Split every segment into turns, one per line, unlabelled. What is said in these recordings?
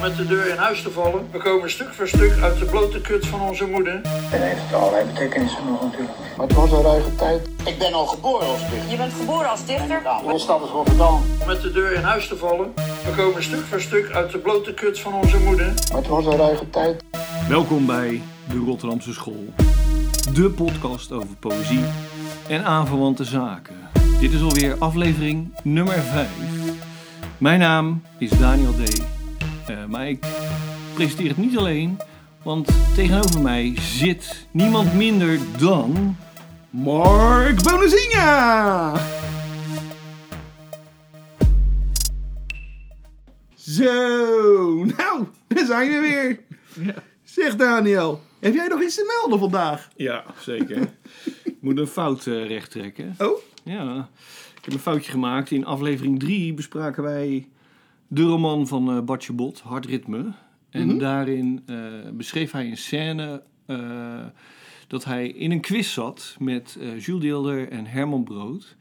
met de deur in huis te vallen. We komen stuk voor stuk uit de blote kut van onze moeder.
En heeft allerlei betekenissen nog natuurlijk.
Maar het was een ruige tijd.
Ik ben al geboren als dichter.
Je bent geboren als dichter?
Onze stad is Rotterdam.
Met de deur in huis te vallen. We komen stuk voor stuk uit de blote kut van onze moeder.
Maar het was een ruige tijd.
Welkom bij de Rotterdamse School. De podcast over poëzie en aanverwante zaken. Dit is alweer aflevering nummer 5. Mijn naam is Daniel D. Eh, maar ik presenteer het niet alleen, want tegenover mij zit niemand minder dan. Mark Bonazinha!
Zo, nou, daar zijn we weer. Zeg Daniel, heb jij nog iets te melden vandaag?
Ja, zeker. Ik moet een fout eh, rechttrekken.
Oh?
Ja, ik heb een foutje gemaakt. In aflevering 3 bespraken wij de roman van eh Bartje Bot, Hard Ritme. En daarin eh, beschreef hij een scène eh, dat hij in een quiz zat met eh, Jules Deelder en Herman Brood.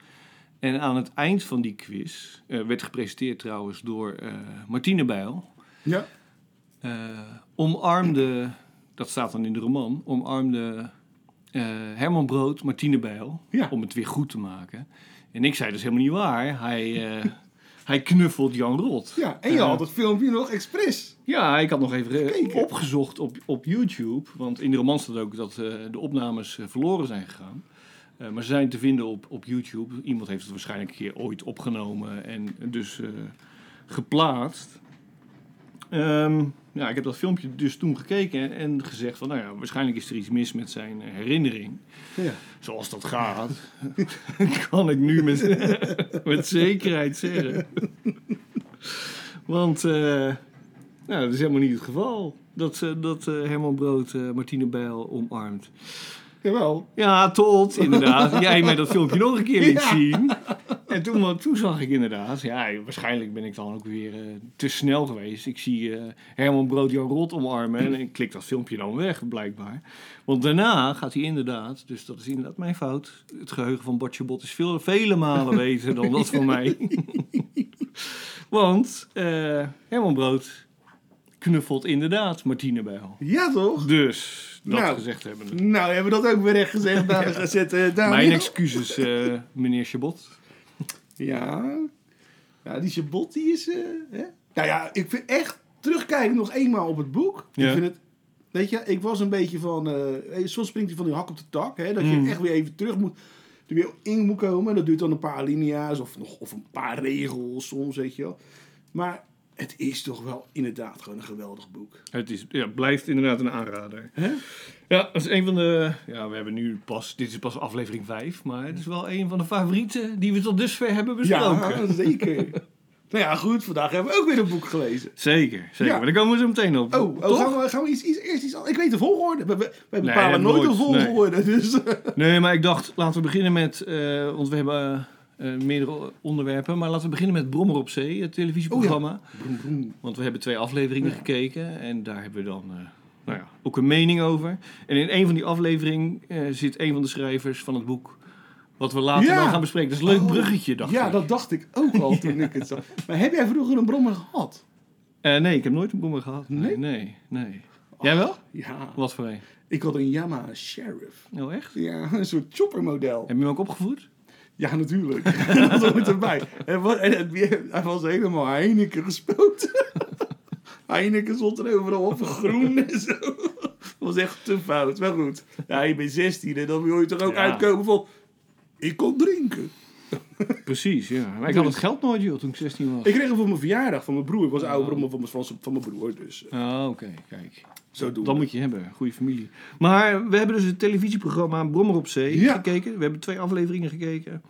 En aan het eind van die quiz, eh, werd gepresenteerd trouwens door eh, Martine Bijl,
Ja.
eh, omarmde, dat staat dan in de roman, omarmde eh, Herman Brood Martine Bijl
Ja.
om het weer goed te maken. En ik zei dus helemaal niet waar. Hij, eh, hij knuffelt Jan Rot.
Ja, en je
Eh,
had het filmpje nog expres.
Ja, ik had nog even eh,
Gekeken.
opgezocht op, op YouTube. Want in de roman staat ook dat eh, de opnames eh, verloren zijn gegaan. Eh, maar ze zijn te vinden op, op YouTube. Iemand heeft het waarschijnlijk een keer ooit opgenomen en dus eh, geplaatst. Ehm, ja, ik heb dat filmpje dus toen gekeken en, en gezegd van... nou ja, waarschijnlijk is er iets mis met zijn herinnering.
Ja.
Zoals dat gaat, kan ik nu met, met zekerheid zeggen. Want eh, nou, dat is helemaal niet het geval dat, eh, dat eh, Herman Brood eh, Martine Bijl omarmt.
Jawel.
Ja, tot inderdaad. Jij mij dat filmpje nog een keer liet
Ja.
zien. En toen, wa- toen zag ik inderdaad, ja, waarschijnlijk ben ik dan ook weer eh, te snel geweest. Ik zie eh, Herman Brood Jan Rot omarmen en ik klik dat filmpje dan weg, blijkbaar. Want daarna gaat hij inderdaad, dus dat is inderdaad mijn fout. Het geheugen van Bartje Bot is veel, vele malen beter dan dat van mij. Want eh, Herman Brood knuffelt inderdaad Martine Bijl.
Ja toch?
Dus, dat
Nou.
gezegd hebben.
Nou, hebben we dat ook weer recht gezegd, dames en zetten, Daniel.
Mijn excuses, eh, meneer Chabot.
Ja. Ja, die Chabot, die is... eh, hè? Nou ja, ik vind echt... Terugkijken nog eenmaal op het boek.
Ja.
Ik vind het... Weet je, ik was een beetje van... eh, soms springt hij van die hak op de tak. Hè, dat
Mm.
je echt weer even terug moet... Er weer in moet komen. Dat duurt dan een paar alinea's of, nog, of een paar regels soms, weet je wel. Maar het is toch wel inderdaad gewoon een geweldig boek.
Het is, ja, blijft inderdaad een aanrader. Ja, dat is een van de. Ja, we hebben nu pas. Dit is pas aflevering 5. Maar het is wel een van de favorieten die we tot dusver hebben besproken.
Ja, zeker. nou ja, goed. Vandaag hebben we ook weer een boek gelezen.
Zeker, zeker.
Ja.
Maar daar komen we zo meteen op.
Oh, oh,
Toch?
gaan we, gaan we iets, iets, eerst iets anders? Ik weet de volgorde. We, we- wij
Nee,
bepalen nooit de
nooit, nee.
volgorde. Dus,
Nee, maar ik dacht, laten we beginnen met. eh, want we hebben eh, eh, meerdere onderwerpen. Maar laten we beginnen met Brommer op Zee, het televisieprogramma. Want we hebben twee afleveringen gekeken en daar hebben we dan eh, nou ja, ook een mening over. En in een van die afleveringen eh, zit een van de schrijvers van het boek, wat we later
Ja.
dan gaan bespreken. Dat is een leuk
Oh.
bruggetje, dacht
ja,
ik.
dat dacht ik ook al toen ik het zag. Maar heb jij vroeger een brommer gehad?
Eh, nee, ik heb nooit een brommer gehad. Nee?
Nee?
Nee, nee. Jij wel?
Ja.
Wat voor een?
Ik had een Yamaha Sheriff.
Nou echt?
Ja, een soort choppermodel.
Heb je hem ook opgevoed?
Ja, natuurlijk. dat hoort erbij. En, wat, en het- hij was helemaal Heineken gespoten. Heineken stond er overal op, groen en zo. Dat was echt te fout. Maar goed, ja, je bent 16 en dan wil je toch ook
Ja.
uitkomen van... Ik kon drinken.
Precies, ja. Maar ik had het geld nooit, joh, toen ik 16 was.
Ik kreeg hem voor mijn verjaardag van mijn broer. Ik was ouder brommer van mijn, van, van mijn broer, dus eh,
Oh, oké, kijk.
zo doen
Dat
we.
moet je hebben, goede familie. Maar we hebben dus het televisieprogramma Brommer op Zee
Ja.
gekeken. We hebben twee afleveringen gekeken.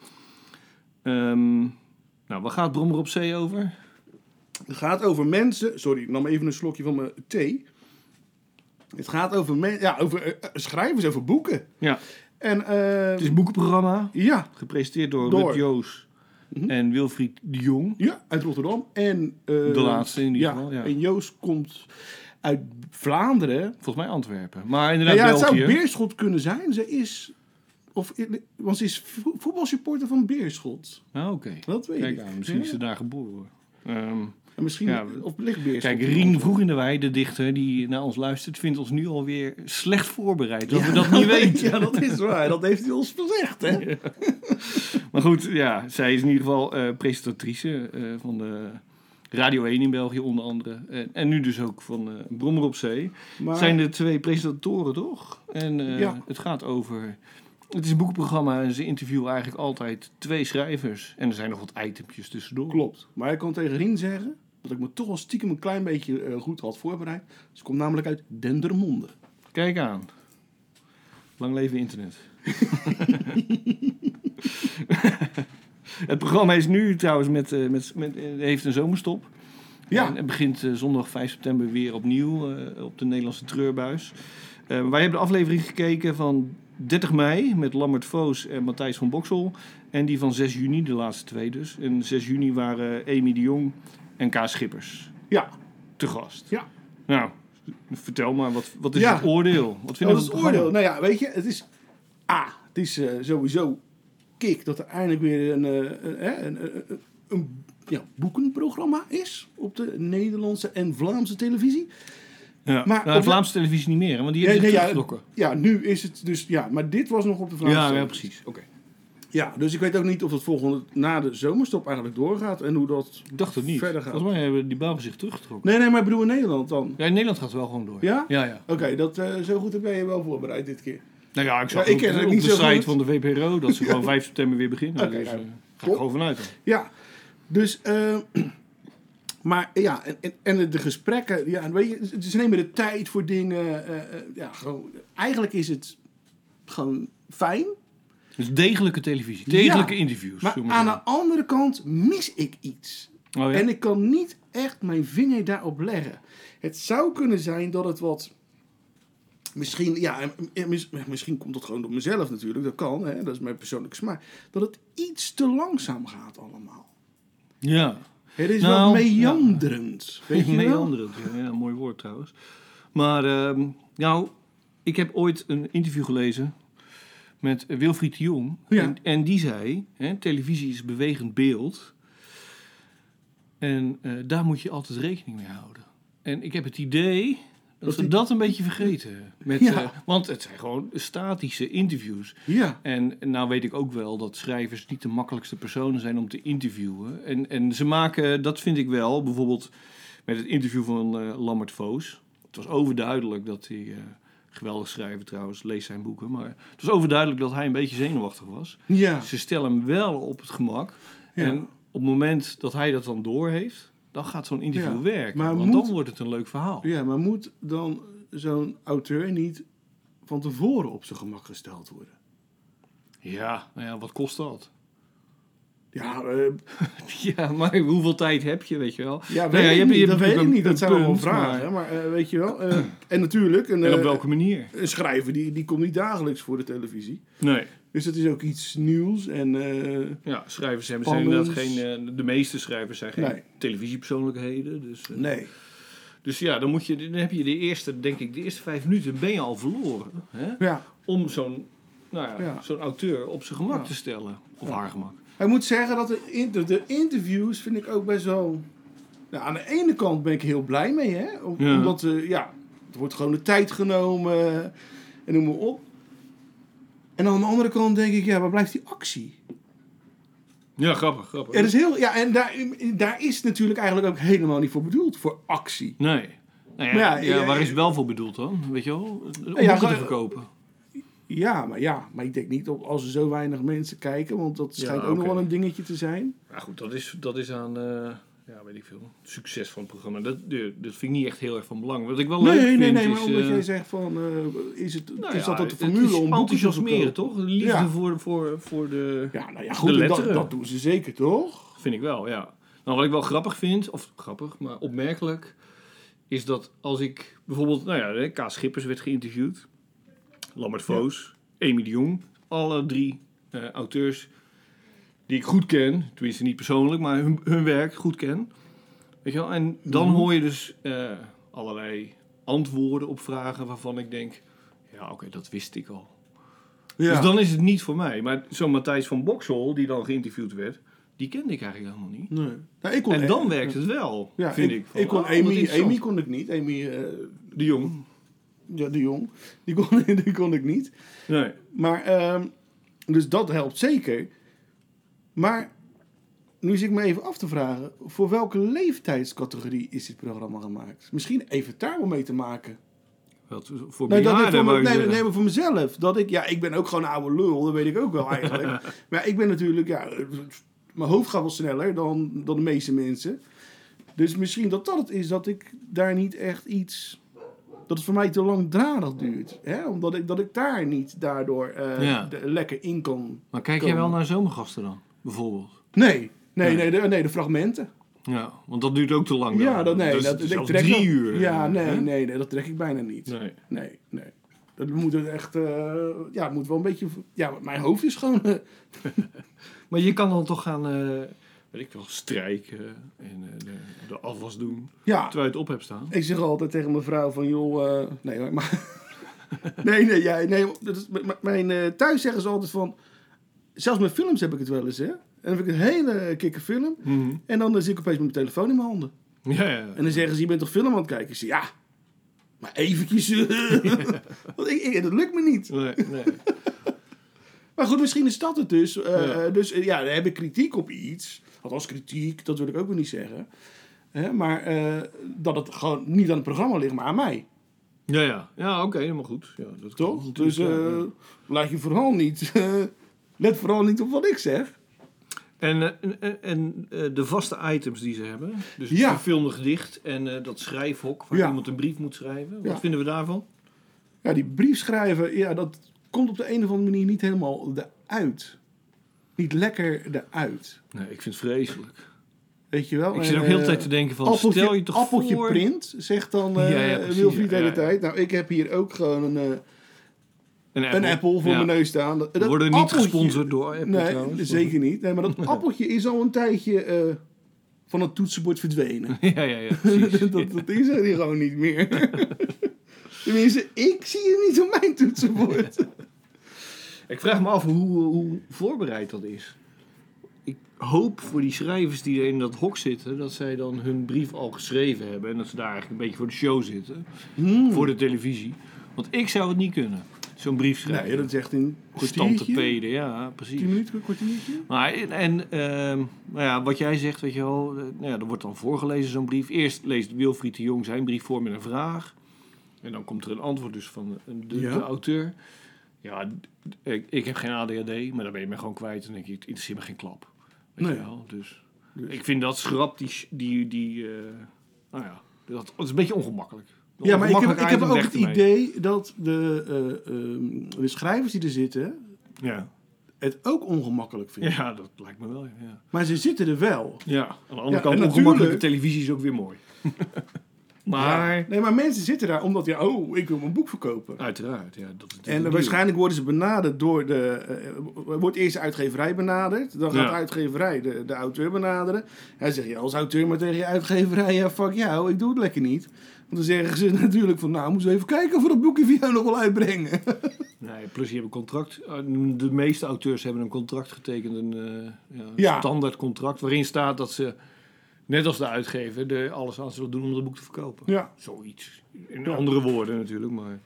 Ehm, nou, waar gaat Brommer op Zee over?
Het gaat over mensen. Sorry, ik nam even een slokje van mijn thee. Het gaat over, men, ja, over eh, eh, schrijvers, over boeken.
Ja,
En eh,
het is een boekenprogramma.
ja,
Gepresenteerd door,
Door. Mhm.
Ruud Joos en Wilfried de Jong.
ja, uit Rotterdam. En, eh,
De laatste in ieder geval, ja.
En Joost komt uit Vlaanderen.
Volgens mij Antwerpen. Maar
Nou
inderdaad
ja, het zou
België.
Beerschot kunnen zijn. Ze is, of, want ze is vo- voetbalsupporter van Beerschot.
Ah, Oké,
Dat weet
kijk
ik.
aan. Misschien is
Ja.
ze daar geboren. Ehm,
En misschien
Ja,
op lichtbeheer.
Kijk, Rien vroeg in de wei, de dichter die naar ons luistert, vindt ons nu alweer slecht voorbereid. Dat we dat niet weten.
Ja, dat is waar. Dat heeft hij ons gezegd, hè?
Maar goed, ja, zij is in ieder geval eh, presentatrice eh, van de Radio 1 in België onder andere. En, en nu dus ook van eh Brommer op Zee.
Maar,
Zijn de twee presentatoren toch? En eh,
Ja.
het gaat over... Het is een boekprogramma en ze interviewen eigenlijk altijd twee schrijvers. En er zijn nog wat itempjes tussendoor.
Klopt. Maar ik kan tegen Rien zeggen dat ik me toch wel stiekem een klein beetje eh, goed had voorbereid. Ze komt namelijk uit Dendermonde.
Kijk aan. Lang leven internet. het programma is nu trouwens met, eh, met, met, eh, heeft een zomerstop.
Ja.
En het begint eh, zondag 5 september weer opnieuw eh, op de Nederlandse treurbuis. Eh, wij hebben de aflevering gekeken van 30 mei met Lambert Voos en Matthijs van Boksel. En die van 6 juni, de laatste twee dus. En 6 juni waren Amy de Jong en K. Schippers
Ja.
te gast.
Ja.
Nou, vertel maar, wat, wat is
Ja.
het oordeel? Wat
Dat
vinden we
is het oordeel. Nou ja, weet je, het is... A, het is eh, sowieso kick dat er eindelijk weer een, eh, een, eh, een, eh, een, ja, boekenprogramma is op de Nederlandse en Vlaamse televisie.
Ja.
Maar
Maar
op de-
Vlaamse televisie niet meer, hè, want die hebben
nee,
zich
ja,
teruggetrokken.
Ja, nu is het dus... Ja, maar dit was nog op de Vlaamse
Ja, ja,
televisie.
precies. Oké.
Ja, dus ik weet ook niet of het volgende na de zomerstop eigenlijk doorgaat en hoe dat
Ik dacht het niet.
verder gaat.
Volgens mij hebben die Belgen zich teruggetrokken.
Nee, nee, maar ik bedoel in Nederland dan.
Ja, in Nederland gaat het wel gewoon door.
Ja?
Ja, ja.
Oké, dat, eh, zo goed heb jij je wel voorbereid dit keer.
Nou ja, ik zag
Ja, ik
op,
ken
de-
het
op
niet
de
zo
site
goed.
van de VPRO dat ze gewoon 5 september weer beginnen.
Oké,
dus,
nou,
eh, ga ik
top.
gewoon vanuit. dan.
Ja, dus... eh, maar ja, en- en, en de gesprekken... Ja, weet je, ze nemen de tijd voor dingen. eh, eh, ja, gewoon, eigenlijk is het gewoon fijn.
Dus degelijke televisie, degelijke
Ja,
interviews.
Maar
zullen we
aan de
zeggen.
andere kant mis ik iets.
Oh, ja?
En ik kan niet echt mijn vinger daarop leggen. Het zou kunnen zijn dat het wat. Misschien, ja, en- en mis- misschien komt dat gewoon door mezelf natuurlijk. Dat kan, hè? dat is mijn persoonlijke smaak. Dat het iets te langzaam gaat allemaal.
ja.
Het is wel
Nou,
meanderend. Weet je wel?
Meanderend, ja, ja, mooi woord trouwens. Maar, ehm, nou, ik heb ooit een interview gelezen met Wilfried de Jong.
Ja.
En, en die zei, hè, televisie is bewegend beeld. En eh, daar moet je altijd rekening mee houden. En ik heb het idee dat ze dat een beetje vergeten. Met,
Ja.
eh, want het zijn gewoon statische interviews.
Ja.
En nou weet ik ook wel dat schrijvers niet de makkelijkste personen zijn om te interviewen. En, en ze maken, dat vind ik wel, bijvoorbeeld met het interview van eh, Lambert Voos. Het was overduidelijk dat hij, eh, geweldig schrijver trouwens, lees zijn boeken. Maar het was overduidelijk dat hij een beetje zenuwachtig was.
Ja.
Ze stellen hem wel op het gemak. En op het moment dat hij dat dan doorheeft, dan gaat zo'n interview
Ja,
werken.
maar
want
moet-
dan wordt het een leuk verhaal.
ja, maar moet dan zo'n auteur niet van tevoren op zijn gemak gesteld worden?
Ja, nou ja, wat kost dat?
Ja, eh,
Ja, maar hoeveel tijd heb je, weet je wel?
Ja,
Nou
weet
ja,
ik
je hebt-
niet,
je hebt
dat weet ik
natuurlijk
niet.
een
Dat zijn allemaal
punt,
vragen.
maar-
hè, Maar, eh, weet je wel. eh, en natuurlijk, een,
En op
eh,
welke manier?
een schrijver die, die komt niet dagelijks voor de televisie.
Nee.
Dus dat is ook iets nieuws. En eh,
Ja, schrijvers hebben zijn
Spannend.
inderdaad geen... eh, De meeste schrijvers zijn geen
Nee.
televisiepersoonlijkheden. Dus, eh,
nee.
dus ja, dan, moet je, dan heb je de eerste, denk ik, de eerste vijf minuten ben je al verloren. Hè?
Ja.
Om zo'n nou ja,
Ja.
zo'n auteur op zijn gemak te stellen. Of haar gemak.
Ik moet zeggen dat de, inter- de interviews vind ik ook best wel... Nou, aan de ene kant ben ik heel blij mee. Hè? Om-
Ja.
Omdat eh, ja, er wordt gewoon de tijd genomen. En noem maar op. En aan de andere kant denk ik, ja, waar blijft die actie?
Ja, grappig, grappig.
Er is heel, ja, en daar, daar is natuurlijk eigenlijk ook helemaal niet voor bedoeld, voor actie.
Nee. Nou ja,
Maar
ja,
ja, ja,
waar
ja.
is het wel voor bedoeld dan? Weet je wel? Om
Ja,
ja, te
maar-
verkopen.
Ja, maar ja, maar ik denk niet op als er zo weinig mensen kijken, want dat schijnt ook nog
oké.
wel een dingetje te zijn.
Maar Nou goed, dat is, dat is aan, eh, ja, weet ik veel, het succes van het programma. Dat, eh, dat vind ik niet echt heel erg van belang. Wat ik wel leuk
Nee,
vind
nee, nee,
is...
maar omdat
eh,
jij zegt van, eh, is, het,
nou
is
ja,
dat ook de
het
formule
is
om boeken te
enthousiasmeren,
verkopen?
toch? De liefde
Ja.
voor, voor, voor de...
Ja, nou ja, goed, en dat,
letteren.
dat doen ze zeker, toch?
Vind ik wel, ja. Nou, wat ik wel grappig vind, of grappig, maar opmerkelijk, is dat als ik bijvoorbeeld, nou ja, hè, K. Schippers werd geïnterviewd, Lambert Voos, Amy de Jong, alle drie eh, auteurs die ik goed ken, tenminste niet persoonlijk, maar hun, hun werk goed ken. Weet je wel? En dan hoor je dus eh, allerlei antwoorden op vragen waarvan ik denk, ja, oké, dat wist ik al.
Ja.
Dus dan is het niet voor mij. Maar zo'n Matthijs van Boksel, die dan geïnterviewd werd, die kende ik eigenlijk helemaal niet.
Nee. Nou, ik kon
En
echt-
dan werkt het wel,
ja,
vind
ik.
ik. Van,
ik kon
oh, wat
Amy,
interessant.
Amy kon ik niet. Amy eh
de Jong.
ja, de Jong. Die kon, die kon ik niet.
Nee.
Maar, ehm, dus dat helpt zeker. Maar nu zit ik me even af te vragen, voor welke leeftijdscategorie is dit programma gemaakt? Misschien even het daar wel mee te maken.
Wat, voor
Nee, dat ik
bejaarden,
voor,
wou
me,
je
nee,
zeggen.
nee, maar voor mezelf. Dat ik, ja, ik ben ook gewoon een oude lul, dat weet ik ook wel eigenlijk. maar ik ben natuurlijk, ja, mijn hoofd gaat wel sneller dan, dan de meeste mensen. Dus misschien dat dat het is dat ik daar niet echt iets. Dat het voor mij te langdradig duurt. Hè? Omdat ik, dat ik daar niet daardoor eh,
Ja.
de- lekker in kan.
Maar kijk jij
komen.
wel naar zomergasten dan, bijvoorbeeld?
Nee, nee,
Nee.
nee, de, nee, de fragmenten.
Ja, want dat duurt ook te lang.
Ja,
dan.
dat, nee,
Dus
dat, ik
zelfs
trek
drie
dat-
uur.
Ja,
eh,
nee,
hè?
nee, nee, dat trek ik bijna niet.
Nee.
Nee, nee. Dat moet het echt, eh, ja, het moet wel een beetje, ja, want mijn hoofd is gewoon, eh,
Maar je kan dan toch gaan, eh, weet ik wel, strijken en eh, de, de afwas doen.
ja.
Terwijl je het op hebt staan.
Ik zeg altijd tegen mijn vrouw van, joh, eh, nee hoor, maar, nee, nee, jij, nee, dat is, m- m- mijn eh, thuis zeggen ze altijd van, zelfs met films heb ik het wel eens, hè. En dan heb ik een hele kikke film.
Mhm.
En dan eh, zit ik opeens met mijn telefoon in mijn handen.
Ja, ja.
En dan zeggen ze, je bent toch film aan het kijken? Ik zeg, ja, maar eventjes. eh." Want ik, ik- dat lukt me niet.
Nee, nee.
Maar goed, misschien is dat het dus. Eh,
Ja.
Dus eh, ja, dan heb ik kritiek op iets. Althans, kritiek, dat wil ik ook weer niet zeggen. Hè, maar eh, dat het gewoon niet aan het programma ligt, maar aan mij.
Ja, ja. Ja, oké, helemaal goed. Ja, dat kan
Toch?
natuurlijk,
Dus
ja, ja.
eh, laat je vooral niet... eh, let vooral niet op wat ik zeg.
En, eh, en, en, en, eh, de vaste items die ze hebben. Dus het
Ja.
verfilmde gedicht en eh, dat schrijfhok waar
Ja.
iemand een brief moet schrijven. Wat
Ja.
vinden we daarvan?
Ja, die brief schrijven, ja, dat komt op de een of andere manier niet helemaal eruit. Niet lekker eruit.
Nee, ik vind het vreselijk.
Weet je wel?
Ik zit ook
Oh, En,
heel de
eh,
tijd te denken van,
appeltje,
stel je toch
appeltje
voor...
print, zegt dan eh
Ja, ja, precies,
Wilfried
ja,
de hele
ja.
tijd. Nou, ik heb hier ook gewoon een, eh,
Een
een Apple voor
Ja.
mijn neus staan. Dat,
We
dat
worden niet
appeltje-
gesponsord door Apple
Nee,
trouwens.
zeker niet. Nee, maar dat appeltje is al een tijdje eh, van het toetsenbord verdwenen.
Ja, ja, ja, precies.
dat, dat is er hier gewoon niet meer. Tenminste, ik zie het niet op mijn toetsenbord.
Ik vraag me af hoe, hoe voorbereid dat is. Ik hoop voor die schrijvers die in dat hok zitten, dat zij dan hun brief al geschreven hebben. En dat ze daar eigenlijk een beetje voor de show zitten.
Hmm.
Voor de televisie. Want ik zou het niet kunnen. Zo'n brief schrijven.
nee, dat is echt een
Stand te
kwartiertje.
peden, ja, precies.
10 minuten, een kwartiertje.
Maar en, en ehm, nou ja, wat jij zegt, weet je wel, eh, nou ja, er wordt dan voorgelezen zo'n brief. Eerst leest Wilfried de Jong zijn brief voor met een vraag. En dan komt er een antwoord dus van de, de-
Ja.
de auteur. Ja, d- d- ik, ik heb geen ADHD, maar dan ben je me gewoon kwijt. En dan denk je, het interesseert me geen klap. Weet
Nee.
je wel, dus. Ik vind dat schrap, die, sh- die, die eh, nou ja, dat, dat is een beetje ongemakkelijk. Een
Ja, maar ik heb,
ongemakkelijk
ik heb
item
ook
weg
het
ermee.
idee dat de, eh, ehm, de schrijvers die er zitten
Ja.
het ook ongemakkelijk vinden.
ja, dat lijkt me wel, ja.
Maar ze zitten er wel.
Ja, aan de andere
Ja,
kant,
en
ongemakkelijke
natuurlijk-
televisie is ook weer mooi. maar,
Nee, maar mensen zitten daar omdat, ja, oh, ik wil mijn boek verkopen.
uiteraard, ja. Dat is
En eh, waarschijnlijk worden ze benaderd door de. eh, eh, wordt eerst de uitgeverij benaderd. Dan gaat
Ja.
de uitgeverij de, de auteur benaderen. Hij zegt je als auteur maar tegen je uitgeverij: ja, fuck jou, ik doe het lekker niet. Want dan zeggen ze natuurlijk van: nou, moeten we even kijken of we dat boekje voor jou nog wel uitbrengen.
Nee, plus je hebt een contract. Eh, De meeste auteurs hebben een contract getekend, een eh, ja,
Ja.
standaard contract, waarin staat dat ze, net als de uitgever, er alles aan zullen doen om dat boek te verkopen.
Ja.
Zoiets. In andere woorden natuurlijk, maar...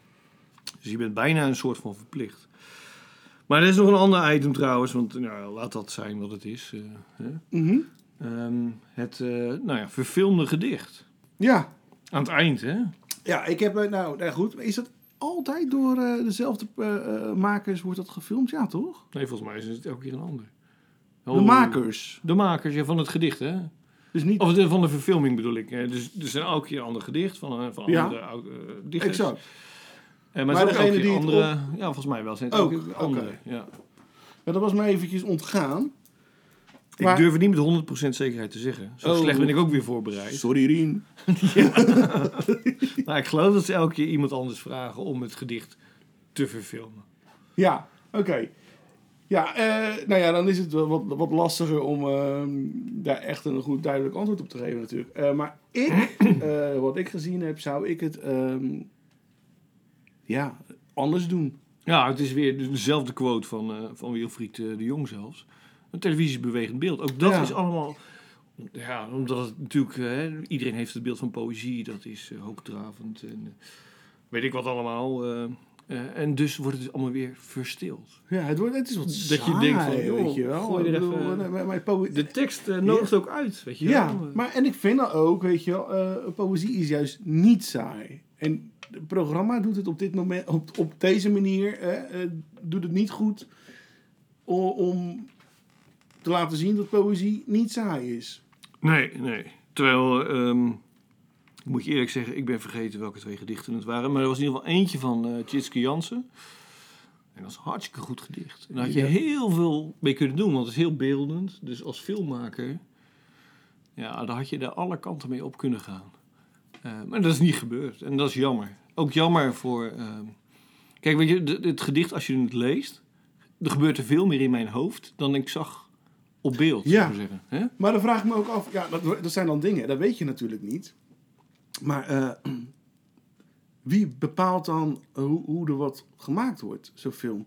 Dus je bent bijna een soort van verplicht. Maar er is nog een ander item trouwens, want nou, laat dat zijn wat het is. eh, hè?
Mhm.
Ehm, het eh, nou ja, verfilmde gedicht.
Ja.
Aan het eind, hè?
Ja, ik heb. eh, Nou, nou goed. Is dat altijd door eh, dezelfde eh, eh, makers wordt dat gefilmd? Ja, toch?
Nee, volgens mij is het elke keer een ander.
De
Oh,
makers.
De makers, ja, van het gedicht, hè?
Dus niet.
Of de, van de verfilming bedoel ik. hè. Dus er zijn elke keer een ander gedicht van, eh, van
Ja.
andere oud- eh, dichters.
Exact.
En, maar
Maar
maar ook
degene
elke keer
die het
andere... Ja, volgens mij wel. Zijn het
Ook,
ook,
oké.
andere. Ja.
Maar dat was me eventjes ontgaan.
Ik
Maar-
durf het niet met 100% zekerheid te zeggen. Zo
Oh.
slecht ben ik ook weer voorbereid.
Sorry, Rien.
Maar ik geloof dat ze elke keer iemand anders vragen om het gedicht te verfilmen.
Ja, oké. Ja, eh, nou ja, dan is het wel wat, wat lastiger om ehm, daar echt een goed duidelijk antwoord op te geven natuurlijk. Eh, maar ik, eh, wat ik gezien heb, zou ik het ehm, ja, anders doen.
Ja, het is weer dezelfde quote van, eh, van Wilfried eh, de Jong zelfs. Een televisiebewegend beeld. Ook dat
Ja.
is allemaal... Ja, omdat het natuurlijk... eh, Hè, iedereen heeft het beeld van poëzie. Dat is eh, hoogdravend en eh, weet ik wat allemaal. eh, eh, en dus wordt het allemaal weer verstild.
Ja, het, wordt, het is wat
Dat je denkt van,
saai,
joh,
weet je wel.
gooi er
Ik bedoel,
even-
maar- maar- maar poë-
De tekst eh, nodigt ook uit, weet je
Ja,
wel.
maar en ik vind dat ook, weet je wel, eh, poëzie is juist niet saai. En het programma doet het op dit moment, op, op deze manier, eh, eh, doet het niet goed o- om te laten zien dat poëzie niet saai is.
Nee, nee. Terwijl, ehm, ik moet je eerlijk zeggen, ik ben vergeten welke twee gedichten het waren. Maar er was in ieder geval eentje van eh Tjitske Jansen. En dat is een hartstikke goed gedicht. En daar had je heel veel mee kunnen doen, want het is heel beeldend. Dus als filmmaker, ja, daar had je daar alle kanten mee op kunnen gaan. Eh, maar dat is niet gebeurd. En dat is jammer. Ook jammer voor... ehm, Kijk, weet je, d- het gedicht, als je het leest, er gebeurt er veel meer in mijn hoofd dan ik zag op beeld,
Ja.
zou ik maar zeggen. Hè?
Maar dan vraag ik me ook af, ja, dat, dat zijn dan dingen, dat weet je natuurlijk niet. Maar eh, wie bepaalt dan hoe, hoe er wat gemaakt wordt, zo'n film?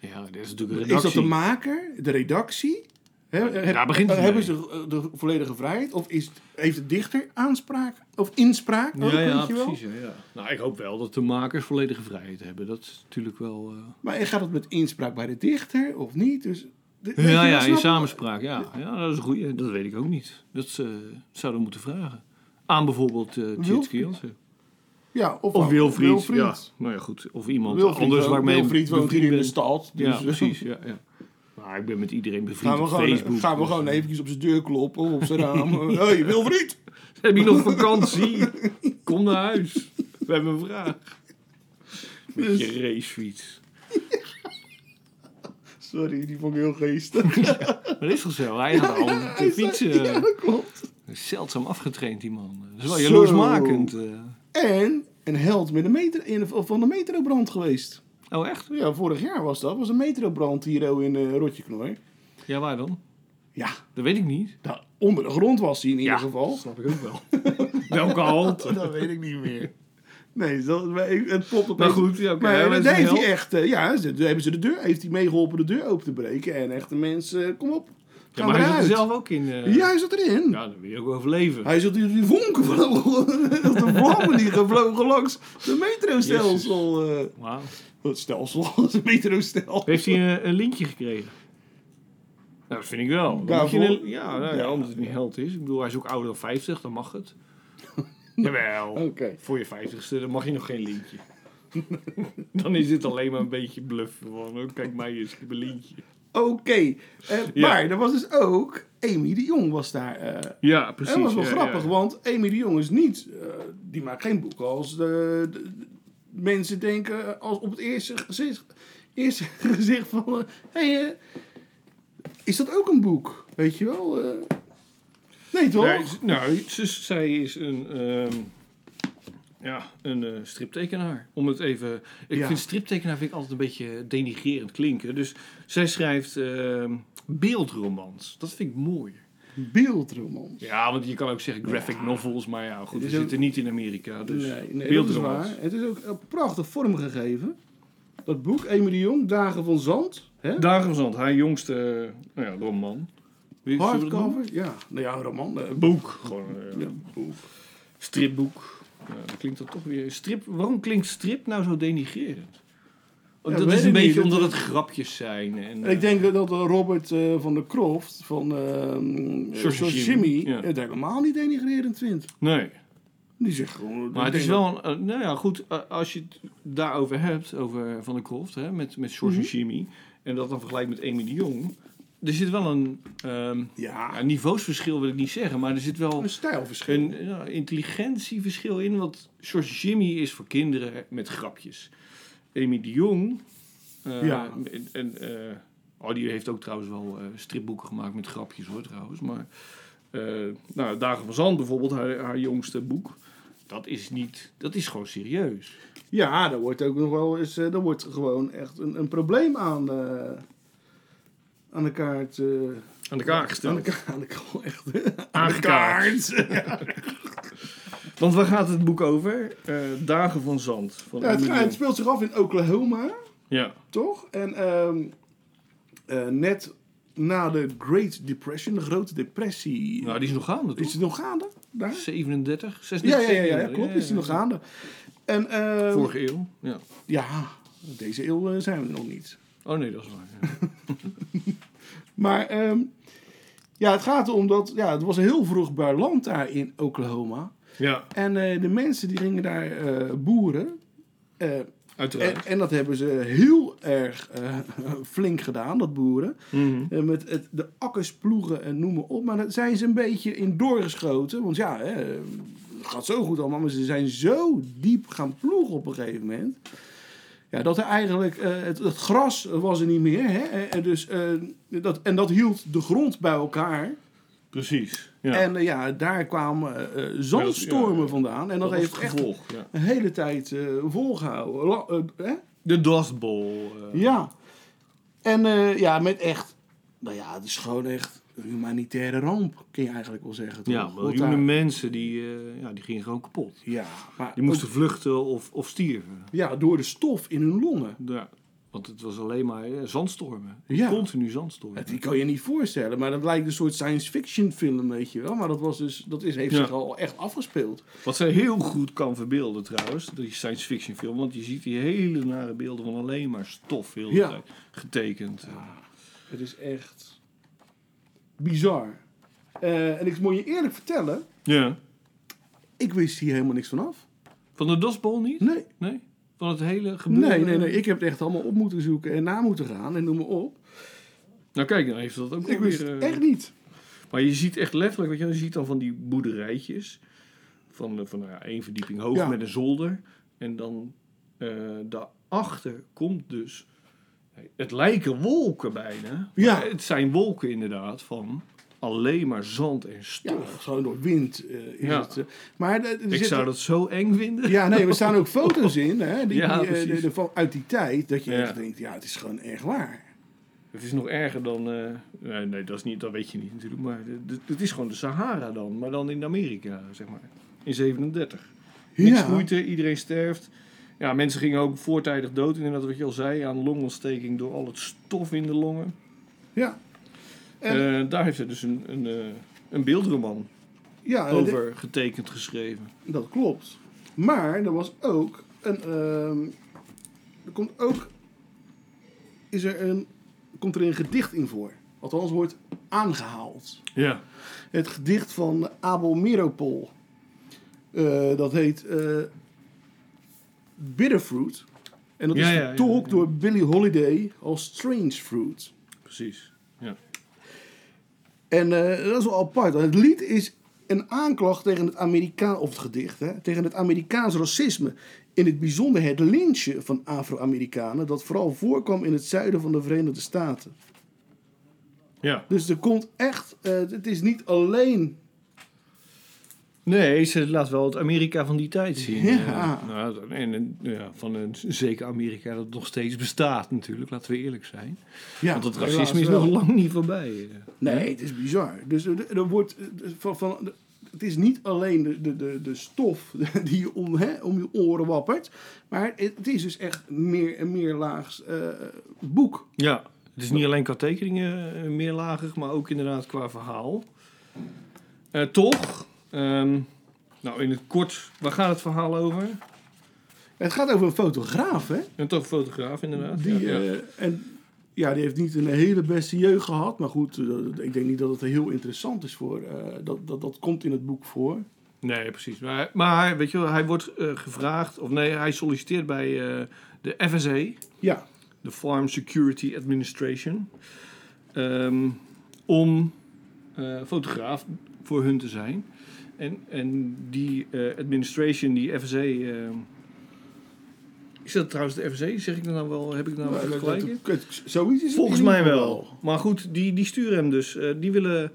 Ja, dat is natuurlijk een
Is
redactie.
dat de maker, de redactie? He- heb-
daar begint het
Hebben
mee.
ze eh, de volledige vrijheid? Of is, heeft de dichter aanspraak? Of inspraak? ook,
ja, ja,
weet je wel?
precies. hè, Ja. Nou, ik hoop wel dat de makers volledige vrijheid hebben. Dat is natuurlijk wel... eh,
Maar gaat het met inspraak bij de dichter of niet? Dus, de- weet
Ja,
je wel,
ja,
snap
in
je?
samenspraak. Ja. ja, dat is een goeie. Dat weet ik ook niet. Dat eh, zouden we moeten vragen. Aan bijvoorbeeld eh Tjitske
Wilfried.
Jansen.
Ja, of,
Of Wilfried.
Wilfried.
Ja, nou ja, goed. Of iemand
Wilfried
anders
woont-
waarmee ik
Wilfried woont hier
bevriend
in de
ben.
stad. Dus
Ja, precies. Ja, ja. Maar ik ben met iedereen bevriend
Gaan we,
op
gewoon,
Facebook.
gaan we
dus,
gewoon
eh,
eventjes op zijn deur kloppen of op zijn raam. Hé, hey, Wilfried!
Heb je nog vakantie? Kom naar huis. We hebben een vraag.
Dus-
Met je racefiets.
Sorry, die vond ik heel geestig.
Dat is toch zo? Hij had al te fietsen.
Ja, dat klopt.
Zeldzaam afgetraind, die man. Dat is wel
Zo.
jaloersmakend. eh.
En een held met een meter, in, van de metrobrand geweest.
Oh, echt?
Ja, vorig jaar was dat. was een metrobrand hier oh, in eh Rotjeknooi.
Ja, waar dan?
Ja,
Dat weet ik niet.
daar onder de grond was hij in ieder geval.
snap ik ook wel. Welke halte?
Dat weet ik niet meer. Nee, dat, maar ik- het popt op.
Maar goed, ja, oké,
maar
hij was
dat
een
heeft hij
held.
echt. eh, ja, ze, daar hebben ze de deur, heeft hij meegeholpen de deur open te breken. En echte mensen, eh, kom op.
Ja,
Ga
maar hij zat
eruit.
er zelf ook in. eh.
Ja, hij zat erin.
Ja, dan wil je ook wel overleven.
Hij zat in die vonken van de vlammen die gevlogen langs de metrostelsel. eh
Wauw.
het stelsel, het metrostelsel.
Heeft hij een, een lintje gekregen? Nou, dat vind ik wel. Dan
Daarvoor?
moet je een- ja, nou, ja, omdat het niet held is. Ik bedoel, hij is ook ouder dan 50, dan mag het. Jawel.
Oké.
Voor je 50ste, dan mag je nog geen lintje. dan is dit alleen maar een beetje bluff. Van, oh, kijk mij eens, ik heb een lintje.
Oké. Eh,
Ja.
Maar er was dus ook, Amy de Jong was daar... eh,
Ja, precies.
dat was wel
ja,
grappig,
ja.
want Amy de Jong is niet... eh, die maakt geen boeken als de, de- de- mensen denken eh, als op het eerste gezicht, eerste gezicht van... eh, hey, eh, is dat ook een boek? Weet je wel? eh? nee, toch?
Nee, z- nou, ze- zij is een, ehm, ja, een eh, striptekenaar. Om het even. Ik
Ja.
vind striptekenaar vind ik altijd een beetje denigrerend klinken. Dus zij schrijft ehm, beeldromans. Dat vind ik mooi.
Beeldroman.
Ja, want je kan ook zeggen graphic novels, maar ja, goed, we
is ook-
zitten niet in Amerika. Dus
nee, nee dat is
beeldromans.
waar. Het is ook eh, prachtig vormgegeven. Dat boek, Amy de Jong, Dagen van Zand. Hè?
Dagen van Zand, haar jongste eh, nou ja, roman. Wie- zullen we dat noemen?
Hardcover, ja. Nou ja, een roman. eh,
Boek. Gewoon eh,
Ja.
stripboek. Ja, dan klinkt dat toch weer. Strip, waarom klinkt strip nou zo denigrerend? Oh,
Ja,
dat
weet
is
ik
een beetje
niet.
omdat het grapjes zijn. En,
Ik denk dat eh, Robert eh, van der Kroft van ehm
Sausage
Sausage
Jimmy,
Jimmy
ja.
het helemaal niet denigrerend vindt.
Nee.
Die zegt gewoon...
Maar
ik
het is
denk
wel. Een, eh, nou ja, goed. eh, als je het daarover hebt, over Van der Kroft, hè, met, met George
Mhm.
en Jimmy. En dat dan vergelijkt met Amy de Jong. Er zit wel een. ehm,
dat- Ja,
ja, niveausverschil wil ik niet zeggen, maar er zit wel.
een stijlverschil.
een ja, intelligentieverschil in. Want George Jimmy is voor kinderen met grapjes. Amy de Jong. eh,
Ja.
En, en, eh, oh, die heeft ook trouwens wel eh, stripboeken gemaakt met grapjes hoor trouwens. Maar eh, nou, Dagen van Zand bijvoorbeeld, haar, haar jongste boek. Dat is niet, dat is gewoon serieus.
Ja, daar wordt ook nog wel eens... eh, daar wordt gewoon echt een, een probleem aan de, aan de kaart... eh,
Aan de kaak gesteld.
aan de kaart, aan de kaart, echt.
Aangekaart. Want waar gaat het boek over? Eh, Dagen van Zand. Van
Ja, het,
Amy de
gaat- het
Jong.
speelt zich af in Oklahoma,
ja.
toch? En ehm, eh, net na de Great Depression, de Grote Depressie.
Nou, die is nog gaande, toch?
Is het nog gaande? Daar?
37, 36,
Ja, ja, ja, ja,
37,
klopt. Is die nog gaande? En, eh,
Vorige eeuw, ja.
Ja, deze eeuw eh, zijn we nog niet.
Oh nee, dat is waar. ja.
Maar ehm, ja, het gaat erom dat ja, het was heel vroeg land daar in Oklahoma.
Ja,
En eh, de mensen die gingen daar eh, boeren. Eh,
uiteraard.
en, en dat hebben ze heel erg eh, flink gedaan, dat boeren.
Mhm.
Eh, met het, de akkers ploegen en noem maar op. Maar daar zijn ze een beetje in doorgeschoten. Want ja, hè, het gaat zo goed allemaal. Maar ze zijn zo diep gaan ploegen op een gegeven moment. Ja, dat er eigenlijk... eh, het, het gras was er niet meer. Hè? En, dus, eh, dat, en dat hield de grond bij elkaar.
Precies. Ja.
En eh, ja, daar kwamen eh, eh, zandstormen
Ja, ja.
vandaan. En dat,
was
heeft
het
echt
gevolg. Ja.
een hele tijd eh, volgehouden. La- eh, hè?
De Dust Bowl. eh,
Ja. En eh, ja, met echt... Nou ja, het is gewoon echt een humanitaire ramp, kun je eigenlijk wel zeggen. Toch?
ja,
Want
miljoenen
daar-
mensen die, eh, ja, die gingen gewoon kapot.
Ja, maar
Die moesten vluchten of, of stierven.
ook- ja, door de stof in hun longen.
Ja. Want het was alleen maar eh, zandstormen.
Ja.
Continu zandstormen.
Die kan je niet voorstellen, maar dat lijkt een soort science fiction film, weet je wel. Maar dat, was dus, dat is, heeft
Ja.
zich al echt afgespeeld.
Wat ze heel goed kan verbeelden trouwens, die science fiction film. Want je ziet die hele nare beelden van alleen maar stof heel de
Ja.
tijd getekend. eh.
Het is echt bizar. Eh, en ik moet je eerlijk vertellen,
Ja.
ik wist hier helemaal niks vanaf.
Van de Dust Bowl niet?
Nee,
Nee? Van het hele gebeuren?
nee, nee, nee. Ik heb het echt allemaal op moeten zoeken en na moeten gaan en noem maar op.
Nou kijk, dan heeft dat ook
Ik wist
weer,
het
eh,
echt niet.
Maar je ziet echt letterlijk, weet je, wel, je ziet dan van die boerderijtjes. Van, eh, van nou ja, één verdieping hoog
Ja.
met een zolder. En dan eh, daarachter komt dus... Het lijken wolken bijna.
Ja.
Maar Het zijn wolken inderdaad van alleen maar zand en
Ja,
stof.
gewoon door wind eh, is
Ja.
het. eh. maar eh, er
Ik
zit-
zou dat zo eng vinden.
Ja, nee, er staan ook foto's in hè, die,
Ja,
die, eh,
precies.
de- de- van- uit die tijd. Dat je
Ja.
echt denkt, ja, het is gewoon echt waar.
Het is nog erger dan... eh, nee, nee dat, is niet, dat weet je niet natuurlijk. Maar de- de- het is gewoon de Sahara dan. Maar dan in Amerika, zeg maar. In 37. Niks
ja.
groeit er, iedereen sterft. Ja, mensen gingen ook voortijdig dood. Inderdaad, wat je al zei, aan longontsteking door al het stof in de longen.
Ja,
Eh, daar heeft hij dus een, een, eh, een beeldroman
ja en dat-
over getekend geschreven.
dat klopt. Maar er was ook een... ehm, er komt ook... Is er een, komt er een gedicht in voor. Althans, wordt aangehaald.
Ja.
Het gedicht van Abel Meropol. Eh, dat heet eh Bitterfruit. En dat
Ja,
is
ja, ja,
vertolkt
ja.
door Billie Holiday als Strange Fruit.
Precies. Ja.
En eh, dat is wel apart. want Het lied is een aanklacht tegen het Amerikaan of het gedicht, hè, tegen het Amerikaans racisme. In het bijzonder het lynchen van Afro-Amerikanen, dat vooral voorkwam in het zuiden van de Verenigde Staten.
ja.
Dus er komt echt, eh, het is niet alleen
Nee, ze laat wel het Amerika van die tijd zien.
Ja.
Eh, nou, dat- en en, ja, van een zeker Amerika dat nog steeds bestaat natuurlijk, laten we eerlijk zijn.
ja,
Want het
helaas
racisme is
wel.
nog lang niet voorbij. eh.
Nee, het is bizar. Dus er, er wordt eh, van, van het is niet alleen de, de, de, de stof die je om, hè, om je oren wappert, maar het, het is dus echt meer en meer laags eh, boek.
Ja, het is niet alleen qua tekeningen eh, meerlagig, maar ook inderdaad qua verhaal. Eh, toch, ehm, nou in het kort, waar gaat het verhaal over?
Het gaat over een fotograaf, hè?
Een toch fotograaf inderdaad.
Die,
ja, ja.
eh, en, ja, die heeft niet een hele beste jeugd gehad, maar goed, eh, ik denk niet dat het heel interessant is voor. eh, dat, dat, dat komt in het boek voor.
Nee, precies. Maar, maar weet je wel, hij wordt eh, gevraagd, of nee, hij solliciteert bij eh, de FSA,
Ja,
de Farm Security Administration, ehm, om eh, fotograaf voor hun te zijn. En, en die eh, administration, die FSA. ehm, is dat trouwens de FSA? Zeg ik dat nou wel? Heb ik dat nou
Maar
wel
dat-
gelijk? in?
dat- Eh, het- zoiets is het
Volgens
in ieder
mij
geval
wel. Maar goed, die, die sturen hem dus. eh, die willen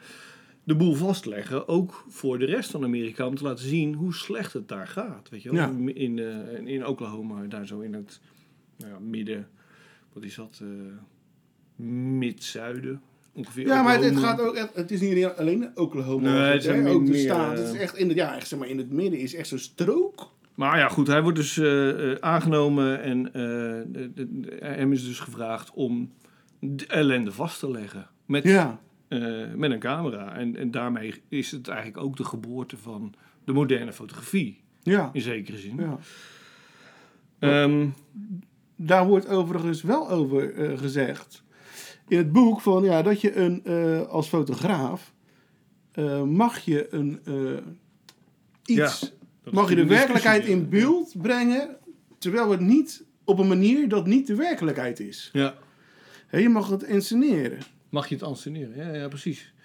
de boel vastleggen. Ook voor de rest van Amerika. Om te laten zien hoe slecht het daar gaat. Weet je wel?
Ja.
In, eh, in Oklahoma, daar zo in het nou ja, midden. Wat is dat? eh, Mid-zuiden ongeveer.
Ja, maar het, het
Oklahoma.
gaat ook echt, het is niet alleen Oklahoma.
Nee,
Nee,
het
het
is meer-
ook de
meer,
staat.
eh,
Het is echt in, het, ja, echt, zeg maar, in het midden is echt zo'n strook.
Maar ja, goed, hij wordt dus eh, eh, aangenomen en eh, de- de- de- hem is dus gevraagd om de ellende vast te leggen. Met,
Ja.
eh, met een camera. En, en daarmee is het eigenlijk ook de geboorte van de moderne fotografie.
Ja.
In zekere zin.
ja.
Ehm,
Daar wordt overigens wel over eh, gezegd. In het boek van ja, dat je een, eh, als fotograaf eh, mag je een eh, iets.
Ja, dat
mag
is
je de
een discussie
werkelijkheid
die-
in beeld brengen. Terwijl het niet op een manier dat niet de werkelijkheid is.
Ja.
Hè, je mag het enseneren.
Mag je het anseneren? Ja, ja, precies.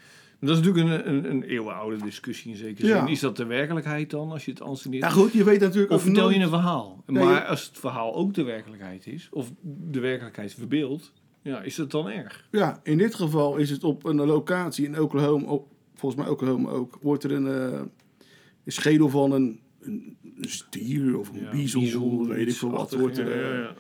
Dat is natuurlijk een, een, een eeuwenoude discussie in zekere zin.
Ja.
Is dat de werkelijkheid dan, als je het anseneert?
Ja, Nou goed, je weet natuurlijk
Of vertel
nooit-
je een verhaal?
Nee,
maar
je-
als het verhaal ook de werkelijkheid is, of de werkelijkheid verbeeld, ja, is dat dan erg?
Ja, in dit geval is het op een locatie in Oklahoma, op, volgens mij Oklahoma ook, wordt er een, eh, een schedel van een, een een stier of een
Ja,
biezel,
bizon,
weet ik
iets
veel wat,
achtig,
wordt er,
ja, ja,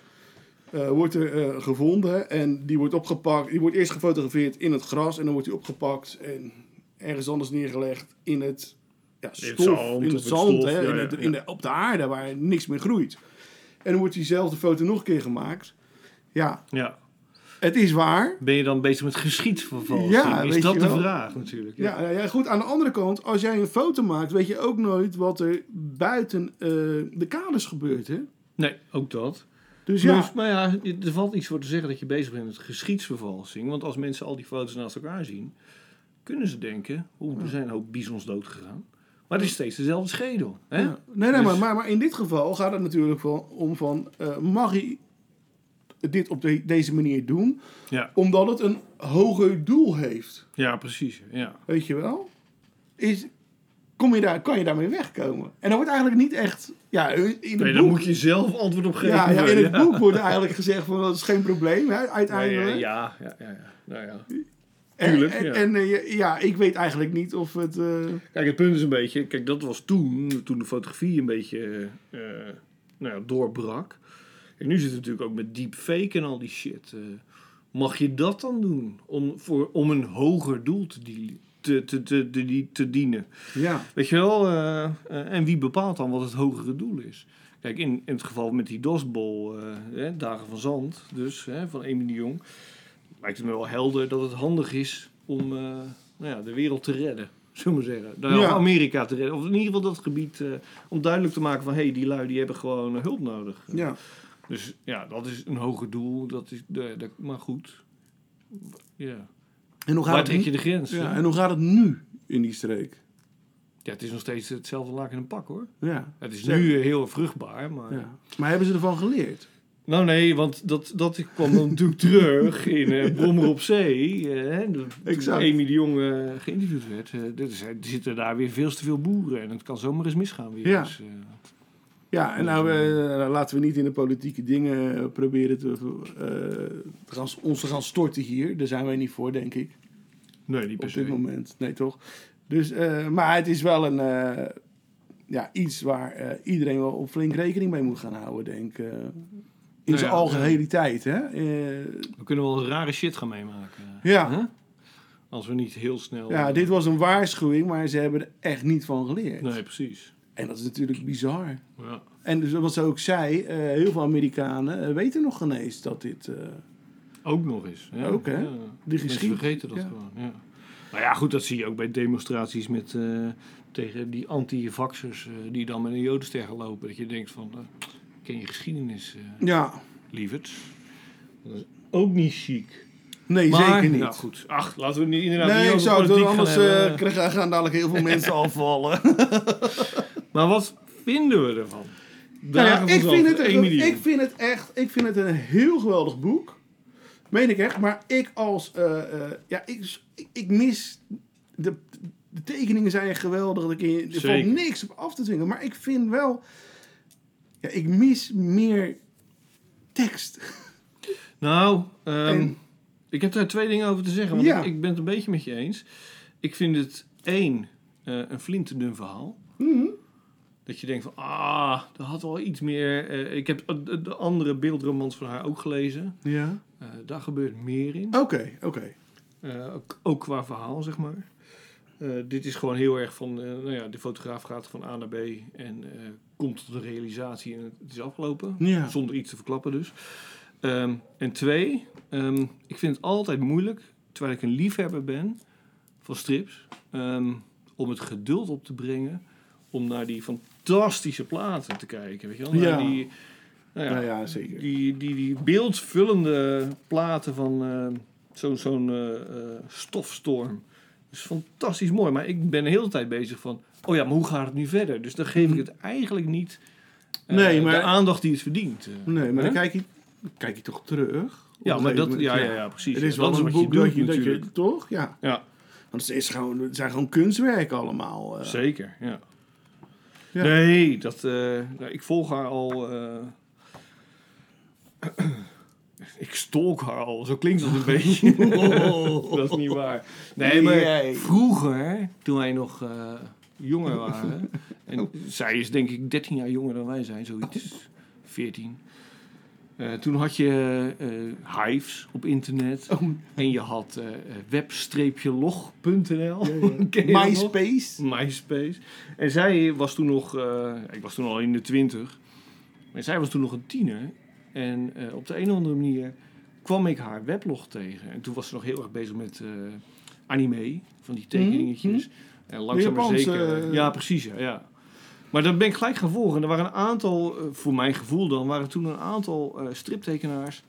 ja.
eh, wordt er eh, gevonden. En die wordt opgepakt, die wordt eerst gefotografeerd in het gras en dan wordt die opgepakt en ergens anders neergelegd in het ja, stof,
zand
in
of
het
het
zand,
stof,
hè,
ja,
in
ja,
het-
ja.
in de- op de aarde waar niks meer groeit. En dan wordt diezelfde foto nog een keer gemaakt. Ja,
Ja.
het is waar.
Ben je dan bezig met geschiedvervalsing?
Ja,
is
weet
dat
je
de
wel.
vraag natuurlijk?
Ja, nou ja, goed. Aan de andere kant, als jij een foto maakt, weet je ook nooit wat er buiten eh, de kaders gebeurt, hè?
Nee, ook dat.
Dus
Ja.
ja,
maar ja, er valt iets voor te zeggen dat je bezig bent met geschiedsvervalsing. Want als mensen al die foto's naast elkaar zien, kunnen ze denken: oeh, er zijn een hoop bizons dood gegaan. Maar het is steeds dezelfde schedel. Hè?
ja. nee, nee,
Dus-
maar, maar, maar in dit geval gaat het natuurlijk van, om van, eh, mag je dit op de- deze manier doen?
Ja.
Omdat het een hoger doel heeft,
ja, precies. Ja.
weet je wel? Is, kom je daar, kan je daarmee wegkomen? En dan wordt eigenlijk niet echt, ja, in het
Nee,
boek...
daar moet je zelf antwoord op geven.
ja, ja, in het boek wordt eigenlijk gezegd van dat is geen probleem, hè,
Nee,
uiteindelijk.
eh, ja, ja, ja, ja. Nou ja.
En-
Tuurlijk,
En,
ja.
en, eh, ja, ik weet eigenlijk niet of het. eh,
Kijk, het punt is een beetje... Kijk, dat was toen, toen de fotografie een beetje eh, eh, nou ja, doorbrak. En nu zit het natuurlijk ook met deepfake en al die shit. eh. mag je dat dan doen? Om, voor, om een hoger doel te, die- te, te, te, te, die- te dienen?
ja.
Weet je wel? eh, eh, en wie bepaalt dan wat het hogere doel is? Kijk, in, in het geval met die DOSBOL, eh, hè, Dagen van Zand, dus hè, van Amy de Jong... lijkt het me wel helder dat het handig is om eh, nou ja, de wereld te redden. Zullen we maar zeggen. Nou, ja,
Ja.
of Amerika te redden. Of in ieder geval dat gebied eh, om duidelijk te maken van... hé, hey, die lui die hebben gewoon eh, hulp nodig.
ja.
Dus ja, dat is een hoger doel. Dat is, eh, dat- maar goed. Ja.
En, hoe
Waar
gaat
trek
het
je
nu?
de grens? hè?
ja. en hoe gaat het nu in die streek?
Ja, het is nog steeds hetzelfde laken en een pak hoor.
Ja.
Het is
Ja.
nu eh, heel vruchtbaar, maar...
ja. Maar hebben ze ervan geleerd?
Nou nee, want dat, dat kwam dan natuurlijk terug in eh Brommer op Zee. eh, hè, de- toen
Exact.
Amy de Jong eh, geïnterviewd werd. eh, er zijn- er zitten daar weer veel te veel boeren. En het kan zomaar eens misgaan weer.
Ja.
Dus, eh,
Ja, en nou eh, laten we niet in de politieke dingen eh, proberen te, eh, te gaan, ons te gaan storten hier. Daar zijn wij niet voor, denk ik.
nee, niet per
Op
se.
dit moment. Nee, toch? Dus, eh, maar het is wel een, eh, ja, iets waar eh, iedereen wel op flink rekening mee moet gaan houden, denk ik. eh, in
Nou
zijn
ja.
algehele tijd, hè? Eh,
We kunnen wel rare shit gaan meemaken. eh,
Ja.
hè? Als we niet heel snel...
Ja, dit was een waarschuwing, maar ze hebben er echt niet van geleerd.
Nee, precies.
En dat is natuurlijk bizar.
Ja.
En dus wat ze ook zei, eh, heel veel Amerikanen eh, weten nog geen eens dat dit... eh,
Ook nog eens. Ja,
Ook, hè?
Ja.
die
Mensen
geschiedenis...
vergeten dat
Ja.
gewoon, ja. Maar ja, goed, dat zie je ook bij demonstraties met, eh, tegen die anti-vaxxers... eh, die dan met een jodenster gaan lopen. Dat je denkt van, eh, ken je geschiedenis, eh
Ja,
lieverd? Dat is ook niet chic.
nee,
Maar,
zeker niet.
Nou goed, ach, laten we nu inderdaad niet
nee, ik
over
zou het
politiek
anders
gaan hebben.
eh, krijgen- gaan dadelijk heel veel mensen afvallen.
Maar wat vinden we ervan?
Nou ja,
Dagen van
ik,
Zand,
vind het,
één miljoen.
ik vind het echt ik vind het een heel geweldig boek. Meen ik echt. Maar ik als... eh, eh, ja, ik, ik mis... De, de tekeningen zijn echt geweldig. Dat ik in, er valt
Zeker.
niks op af te dwingen. Maar ik vind wel... Ja, ik mis meer tekst.
Nou, ehm,
En-
ik heb daar twee dingen over te zeggen. Want
Ja.
ik, ik ben het een beetje met je eens. Ik vind het één, eh een flinterdun verhaal. Dat je denkt van, ah, er had wel iets meer... eh, ik heb eh, de- de andere beeldromans van haar ook gelezen.
Ja.
Eh, daar gebeurt meer in.
Oké, oké.
Eh, ook, ook qua verhaal, zeg maar. Eh, dit is gewoon heel erg van, eh, nou ja, de fotograaf gaat van A naar B en eh, komt tot de realisatie en het is afgelopen.
Ja.
Zonder iets te verklappen dus. Ehm, en twee, ehm, ik vind het altijd moeilijk terwijl ik een liefhebber ben van strips, ehm, om het geduld op te brengen om naar die fantastische platen te kijken. Weet je wel? Naar
Ja.
Die, nou ja,
Ja, ja, zeker.
die, die, die beeldvullende platen van eh, zo'n zo'n eh, eh, stofstorm. Dat is fantastisch mooi. Maar ik ben de hele tijd bezig van... Oh ja, maar hoe gaat het nu verder? Dus dan geef ik het eigenlijk niet eh,
Nee, maar-
de aandacht die het verdient. eh.
Nee, maar dan
Hè?
kijk je, dan kijk je toch terug. Op
ja,
een
maar
gegeven
dat,
moment,
ja, ja, ja, precies.
Het
Ja,
is wel
dat
een
wat
boek dat je,
doet
dat
natuurlijk.
je toch, ja.
Ja,
Want het, is gewoon, het zijn gewoon kunstwerken allemaal. eh.
zeker. Ja.
Ja.
Nee, dat, eh, nou, ik volg haar al... eh, ik stalk haar al. Zo klinkt dat een beetje. Dat is niet waar. Nee, maar
Nee.
vroeger, toen wij nog eh, jonger waren. en zij is denk ik 13 jaar jonger dan wij zijn, zoiets. 14. Eh, toen had je eh, hives op internet.
Oh,
En je had eh, eh, web-log.nl. Ken je dat nog?
MySpace.
MySpace. En zij was toen nog, eh, ik was toen al in de twintig. En zij was toen nog een tiener. En eh, op de een of andere manier kwam ik haar weblog tegen. En toen was ze nog heel erg bezig met eh, anime, van die tekeningetjes. En langzaam maar
Japanse,
zeker.
eh,
ja, precies. Ja, ja. Maar dat ben ik gelijk gaan volgen. En er waren een aantal, eh, voor mijn gevoel dan, waren toen een aantal eh, striptekenaars.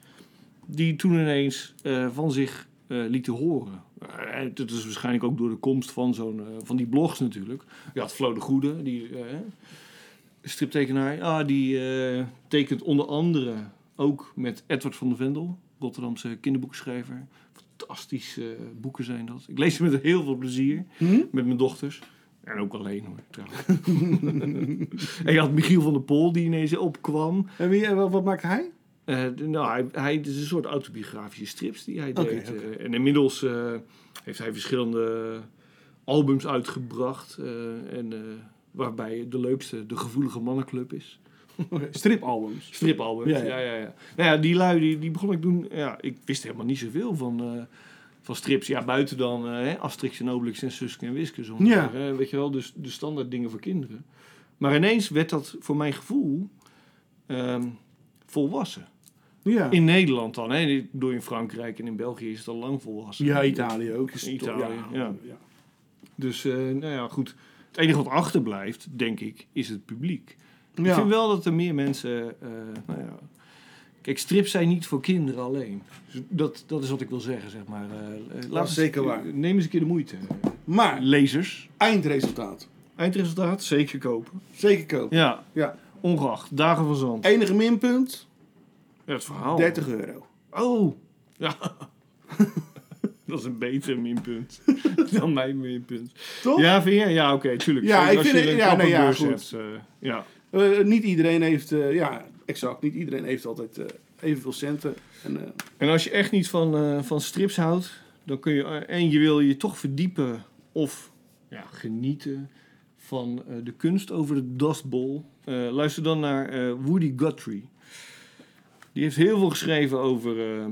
die toen ineens eh, van zich eh, lieten horen. Eh, dat is waarschijnlijk ook door de komst van, zo'n, eh, van die blogs natuurlijk. Je had Flo de Goede, die eh, striptekenaar. Ah, die eh, tekent onder andere ook met Edward van der Vendel, Rotterdamse kinderboekschrijver. Fantastische eh, boeken zijn dat. Ik lees ze met heel veel plezier, met mijn dochters. En ook alleen hoor, trouwens. en je had Michiel van der Pol die ineens opkwam.
En wie, en wat, wat maakt hij?
Eh, d- nou, hij, hij het is een soort autobiografische strips die hij
Oké,
deed.
oké.
Eh, en inmiddels eh, heeft hij verschillende albums uitgebracht. eh, en, eh, waarbij de leukste de Gevoelige Mannenclub is.
Oké, Stripalbums.
Stripalbums, ja
Ja,
ja.
ja.
ja, ja, Nou ja, die lui, die, die begon ik doen... Ja, ik wist helemaal niet zoveel van, eh, van strips. Ja, buiten dan eh, hè, Asterix en Obelix en Suske en Wiske. Zo
Ja.
weet je wel, dus de standaard dingen voor kinderen. Maar ineens werd dat voor mijn gevoel ehm, volwassen.
Ja.
In Nederland dan, hè? Ik bedoel, in Frankrijk en in België is het al lang volwassen.
ja, Italië ook. Is toch-
Italië, ja.
ja.
Dus, eh, nou ja, goed. Het enige wat achterblijft, denk ik, is het publiek. Ik
Ja.
vind wel dat er meer mensen... eh, nou ja. Kijk, strips zijn niet voor kinderen alleen. Dus Dat, dat is wat ik wil zeggen, zeg maar. Eh, eh, laat eens-
zeker waar.
Neem eens een keer de moeite.
Maar,
Lezers,
eindresultaat.
eindresultaat, zeker kopen.
Zeker kopen.
Ja,
Ja.
ongeacht. Dagen van zand.
Enige minpunt,
Het verhaal.
30 euro.
Oh! Ja. dat is een beter minpunt dan mijn minpunt.
Toch?
Ja, vind je? Ja, oké, tuurlijk.
Ja,
Zeker
ik
als
vind
je
het-
een
ja, nee, ja,
kappenbeurs
goed.
hebt, eh, ja.
Eh, niet iedereen heeft, eh, ja, exact. Niet iedereen heeft altijd eh, evenveel centen. En, eh,
En als je echt niet van, eh, van strips houdt, dan kun je... eh, en je wil je toch verdiepen of ja, genieten van eh, de kunst over de Dust Bowl. Eh, luister dan naar eh, Woody Guthrie. Die heeft heel veel geschreven over... eh,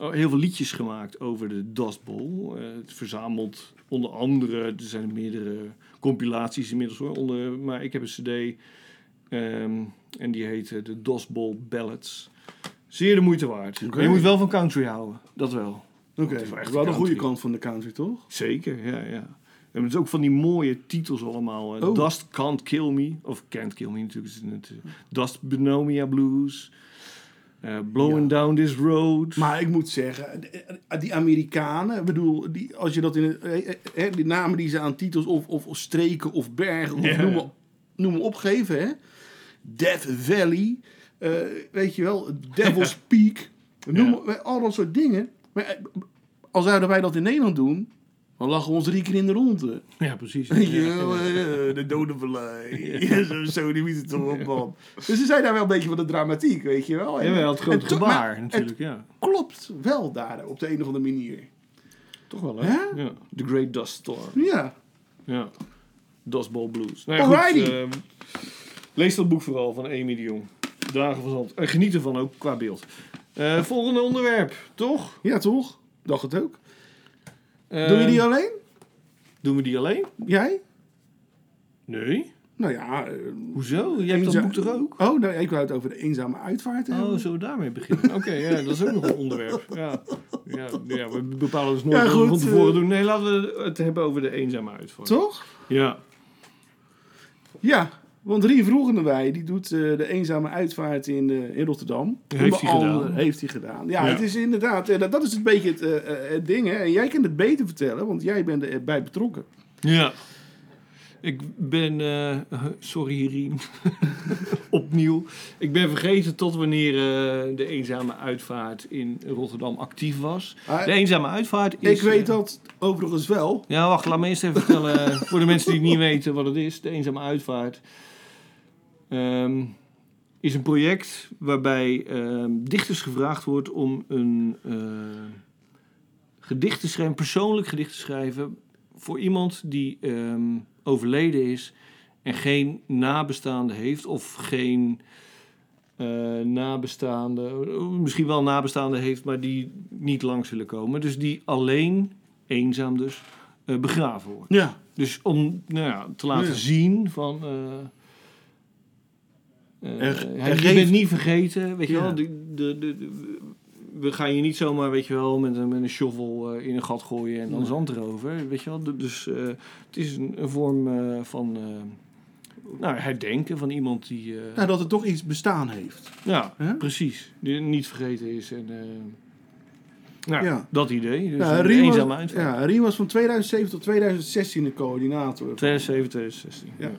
oh, heel veel liedjes gemaakt over de Dust Bowl. Eh, het verzamelt onder andere... Er zijn meerdere compilaties inmiddels hoor. Onder, maar ik heb een cd... ehm, en die heet eh, de Dust Bowl Ballads. Zeer de moeite waard.
Oké.
Maar je moet wel van country houden. Dat wel.
Oké,
is wel echt
wel de goede
country.
kant van de country, toch?
Zeker, ja, ja. En het is ook van die mooie titels allemaal. eh,
Oh.
Dust Can't Kill Me. Of Can't Kill Me natuurlijk. is het, eh, Dust Benomia Blues. eh, Blowing Down This Road.
Maar ik moet zeggen, eh, die Amerikanen, ik bedoel, die, als je dat in het- eh, eh, hè, die namen die ze aan titels of, of, of streken of bergen of
Ja.
noem, maar, noem maar opgeven, hè? Death Valley, eh, weet je wel, Devil's Peak, noem
Ja.
maar- al dat soort dingen. Maar eh, als zouden wij dat in Nederland doen, dan lachen we ons drie keer in de ronde.
ja, precies.
Weet je
Ja.
wel, eh, de dode vallei, zo, zo, die wiet het erop, man. Dus ze zijn daar wel een beetje van de dramatiek, weet je wel.
Ja, wel het grote
En to- maar
gebaar
het-
natuurlijk, ja.
klopt wel daar op de een of andere manier.
Toch wel,
hè?
Ja. The Great Dust Storm.
Ja.
Ja. Dust Bowl Blues. Nou ja, goed,
Alrighty.
ehm, lees dat boek vooral van Amy de Jong. Dagen van Zand. En geniet ervan ook qua beeld. Eh, volgende onderwerp, toch?
Ja, toch? Dacht het ook.
Eh,
Doe je die alleen?
Doen we die alleen?
Jij?
Nee.
Nou ja... eh,
Hoezo? Jij hebt dat
eenza-
boek toch ook?
Oh, nou, ik wou het over de eenzame uitvaart hebben.
Oh, zullen we daarmee beginnen? Oké, ja, dat is ook nog een onderwerp. Ja, ja, ja we bepalen dus nooit
Ja,
wat we
goed,
van tevoren
eh.
doen. Nee, laten we het hebben over de eenzame uitvaart.
Toch?
Ja.
Ja, want Rien Vroegenderwij die doet eh, de eenzame uitvaart in, eh, in Rotterdam.
Heeft hij
Onder andere
gedaan.
Heeft hij gedaan. Ja,
Ja.
het is inderdaad, eh, dat, dat is een beetje het, eh, eh, het ding. Hè. En jij kan het beter vertellen, want jij bent erbij betrokken.
Ja. Ik ben, eh, sorry Rien, opnieuw. Ik ben vergeten tot wanneer eh, de eenzame uitvaart in Rotterdam actief was.
Ah,
De eenzame uitvaart is...
ik weet
eh,
dat overigens wel.
Ja, wacht, laat me eerst even vertellen eh, voor de mensen die het niet weten wat het is. De Eenzame Uitvaart ehm, is een project waarbij ehm, dichters gevraagd wordt om een eh, gedicht te schrijven, een persoonlijk gedicht te schrijven voor iemand die ehm, overleden is en geen nabestaande heeft of geen eh, nabestaande, misschien wel nabestaande heeft, maar die niet lang zullen komen. Dus die alleen, eenzaam dus, eh, begraven wordt.
Ja.
Dus om nou ja, te laten
Ja.
zien van... eh eh,
Er-
hij-
er
je
geeft-
bent niet vergeten, weet je
Ja.
wel. De, de, de, de- we gaan je niet zomaar, weet je wel, met een, met een shovel eh, in een gat gooien en dan zand erover. Weet je wel, De- dus eh, het is een, een vorm eh, van eh, nou, herdenken van iemand die... eh,
Nou, dat het toch iets bestaan heeft.
ja,
Hè?
precies. Die niet vergeten is. En, eh, nou,
Ja.
dat idee. Dus
Ja,
een
Rien,
eenzame
was,
uitvaart.
ja, Rien was van 2007 tot 2016 de coördinator.
2007, 2016. Ja.
Ja.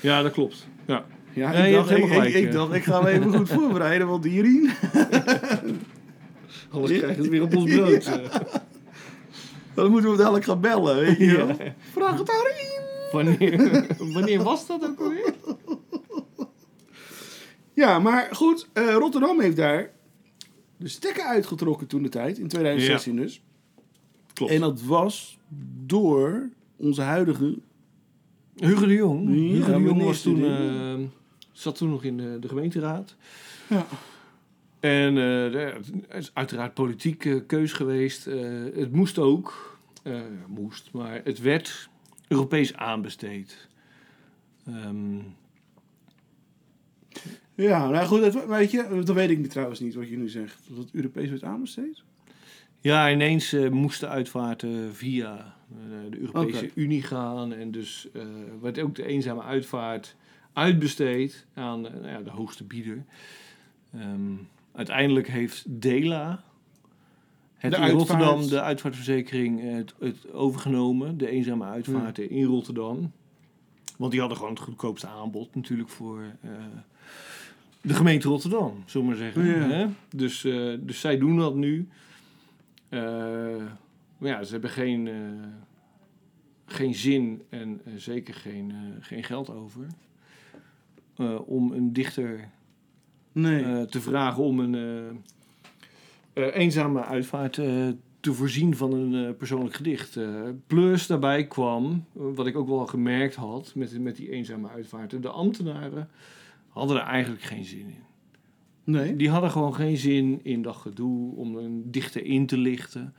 ja, dat klopt. Ja.
Ja,
Nee, je
ik, dacht,
hebt
ik,
helemaal
ik,
gelijk,
ik
ja.
dacht, ik ga me even goed voorbereiden, want die Rien...
Anders krijgen we het weer op ons brood. eh.
Dan moeten we dadelijk gaan bellen, weet je wel. Vraag het aan Rien!
Wanneer, wanneer was dat ook alweer?
Ja, maar goed, eh, Rotterdam heeft daar de stekker uitgetrokken toen de tijd, in 2016 dus.
Klopt.
En dat was door onze huidige.
Hugo de Jong.
Ja,
Hugo de Jong
wanneer
was
is die
toen,
dingen?
eh, zat toen nog in de, de gemeenteraad.
Ja.
En eh, daar- het is uiteraard politieke keus geweest. Eh, het moest ook, eh, moest, maar het werd Europees aanbesteed. Ehm,
Ja, nou goed, dat, weet je, dat weet ik niet trouwens niet wat je nu zegt. Dat het Europees werd aanbesteed?
ja, ineens eh, moesten uitvaarten via eh, de Europese
Oké.
Unie gaan. En dus eh, werd ook de eenzame uitvaart uitbesteed aan eh, nou ja, de hoogste bieder. Ehm, uiteindelijk heeft Dela, het
De
in Rotterdam,
uitvaart.
de uitvaartverzekering, eh, het, het overgenomen. De eenzame uitvaarten in Rotterdam. Want die hadden gewoon het goedkoopste aanbod natuurlijk voor eh, de gemeente Rotterdam, zullen we maar zeggen.
Ja.
Hè? Dus, eh, dus zij doen dat nu. Eh, maar ja, ze hebben geen, eh, geen zin en eh, zeker geen, eh, geen geld over. eh, om een dichter
Nee.
eh, te vragen om een eh, eh, eenzame uitvaart eh, te voorzien van een eh, persoonlijk gedicht. eh. plus daarbij kwam, eh, wat ik ook wel gemerkt had met, met die eenzame uitvaarten, de ambtenaren hadden er eigenlijk geen zin in.
nee.
Die hadden gewoon geen zin in dat gedoe om een dichter in te lichten.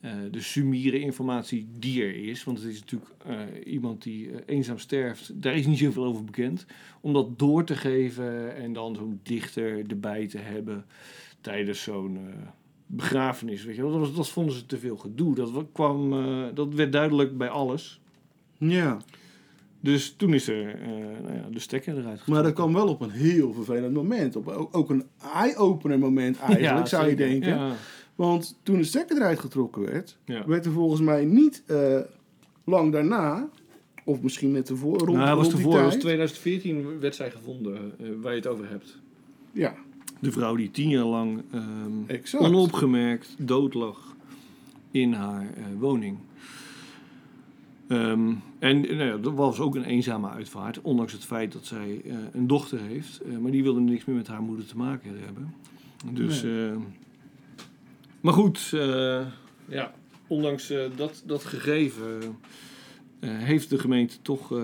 Eh, de sumiere informatie die er is, want het is natuurlijk eh, iemand die eh, eenzaam sterft, daar is niet zoveel over bekend. Om dat door te geven en dan zo'n dichter erbij te hebben tijdens zo'n eh, begrafenis. Weet je wel. Dat, was, dat vonden ze te veel gedoe. Dat, wa- kwam, eh, dat werd duidelijk bij alles.
Ja.
Dus toen is er eh, nou ja, de stekker eruit getrokken.
Maar dat kwam wel op een heel vervelend moment. Op, ook ook een eye-opener moment eigenlijk,
Ja,
zou je
zeker.
denken.
Ja,
Want toen de stekker eruit getrokken werd,
ja.
werd er volgens mij niet eh, lang daarna, of misschien net ervoor, rond,
nou, hij was
rond die
tevoren, was
tijd-
2014 werd zij gevonden, eh, waar je het over hebt.
Ja,
De vrouw die tien jaar lang ehm,
exact.
onopgemerkt dood lag in haar eh, woning. Ehm, en eh, nou ja, dat was ook een eenzame uitvaart, ondanks het feit dat zij eh, een dochter heeft. eh, maar die wilde niks meer met haar moeder te maken hebben. Dus, eh, maar goed, eh, ja, ondanks eh, dat, dat gegeven eh, heeft de gemeente toch eh,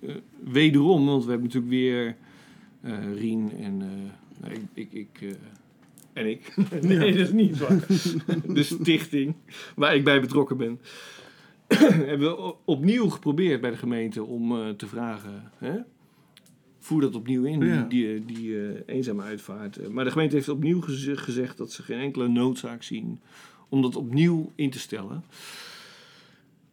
eh, wederom, want we hebben natuurlijk weer eh, Rien en eh, nou, ik, ik, ik eh, en ik. nee, dat is niet waar. de stichting waar ik bij betrokken ben. hebben we o- opnieuw geprobeerd bij de gemeente om eh, te vragen. Hè? Voer dat opnieuw in, die-
Ja.
die, die, eh, eenzame uitvaart. Eh, Maar de gemeente heeft opnieuw geze- gezegd dat ze geen enkele noodzaak zien om dat opnieuw in te stellen.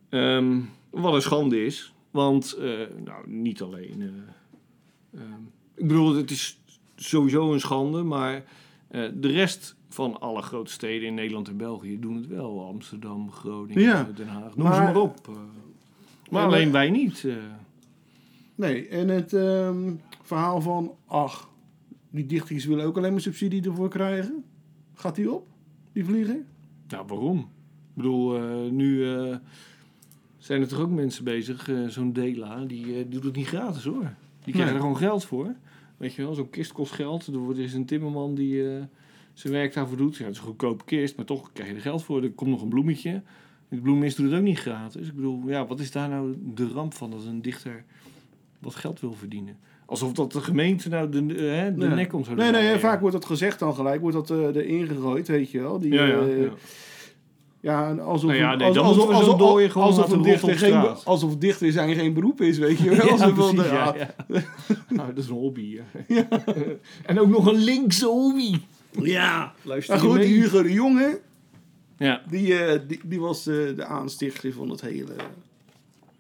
Ehm, wat een schande is, want eh, nou, niet alleen. eh, ehm, ik bedoel, het is sowieso een schande, maar eh, de rest van alle grote steden in Nederland en België doen het wel. Amsterdam, Groningen,
Ja,
Den Haag, noem ze
maar-
maar op. eh. maar
En,
alleen
eh,
wij niet. eh.
Nee, en het ehm, verhaal van, ach, die dichters willen ook alleen maar subsidie ervoor krijgen. Gaat die op, die vlieger?
nou, waarom? Ik bedoel, eh, nu eh, zijn er toch ook mensen bezig, eh, zo'n Dela, die, eh, die doet het niet gratis hoor. Die krijgen
Nee.
er gewoon geld voor. Weet je wel, zo'n kist kost geld. Er wordt- er is een timmerman die eh, zijn werk daarvoor doet. Ja, het is een goedkope kist, maar toch krijg je er geld voor. Er komt nog een bloemetje. De bloemist doet het ook niet gratis. Ik bedoel, ja, wat is daar nou de ramp van dat een dichter wat geld wil verdienen? Alsof dat de gemeente nou de, eh, hè, de
Ja.
nek om zou
Nee, nee,
draaien.
en vaak wordt dat gezegd dan gelijk, wordt dat eh, erin gegooid, weet je wel. Die,
Ja, ja,
eh,
ja.
Ja, en alsof,
Nou ja, nee,
als-
dan
alsof,
moeten we zo'n
alsof-
dooie gewoon
alsof
laten
een
rotten op
dichter geen,
straat.
alsof dichter zijn geen beroep is, weet je wel.
Ja,
Alsof dat-
precies, ja,
ja.
ja. nou, dat is een hobby. Ja. en ook nog een linkse hobby.
Ja.
Luister
Maar Nou goed, die
mee.
Hugo de Jonge,
Ja.
die, eh, die, die was eh, de aanstichter van het hele...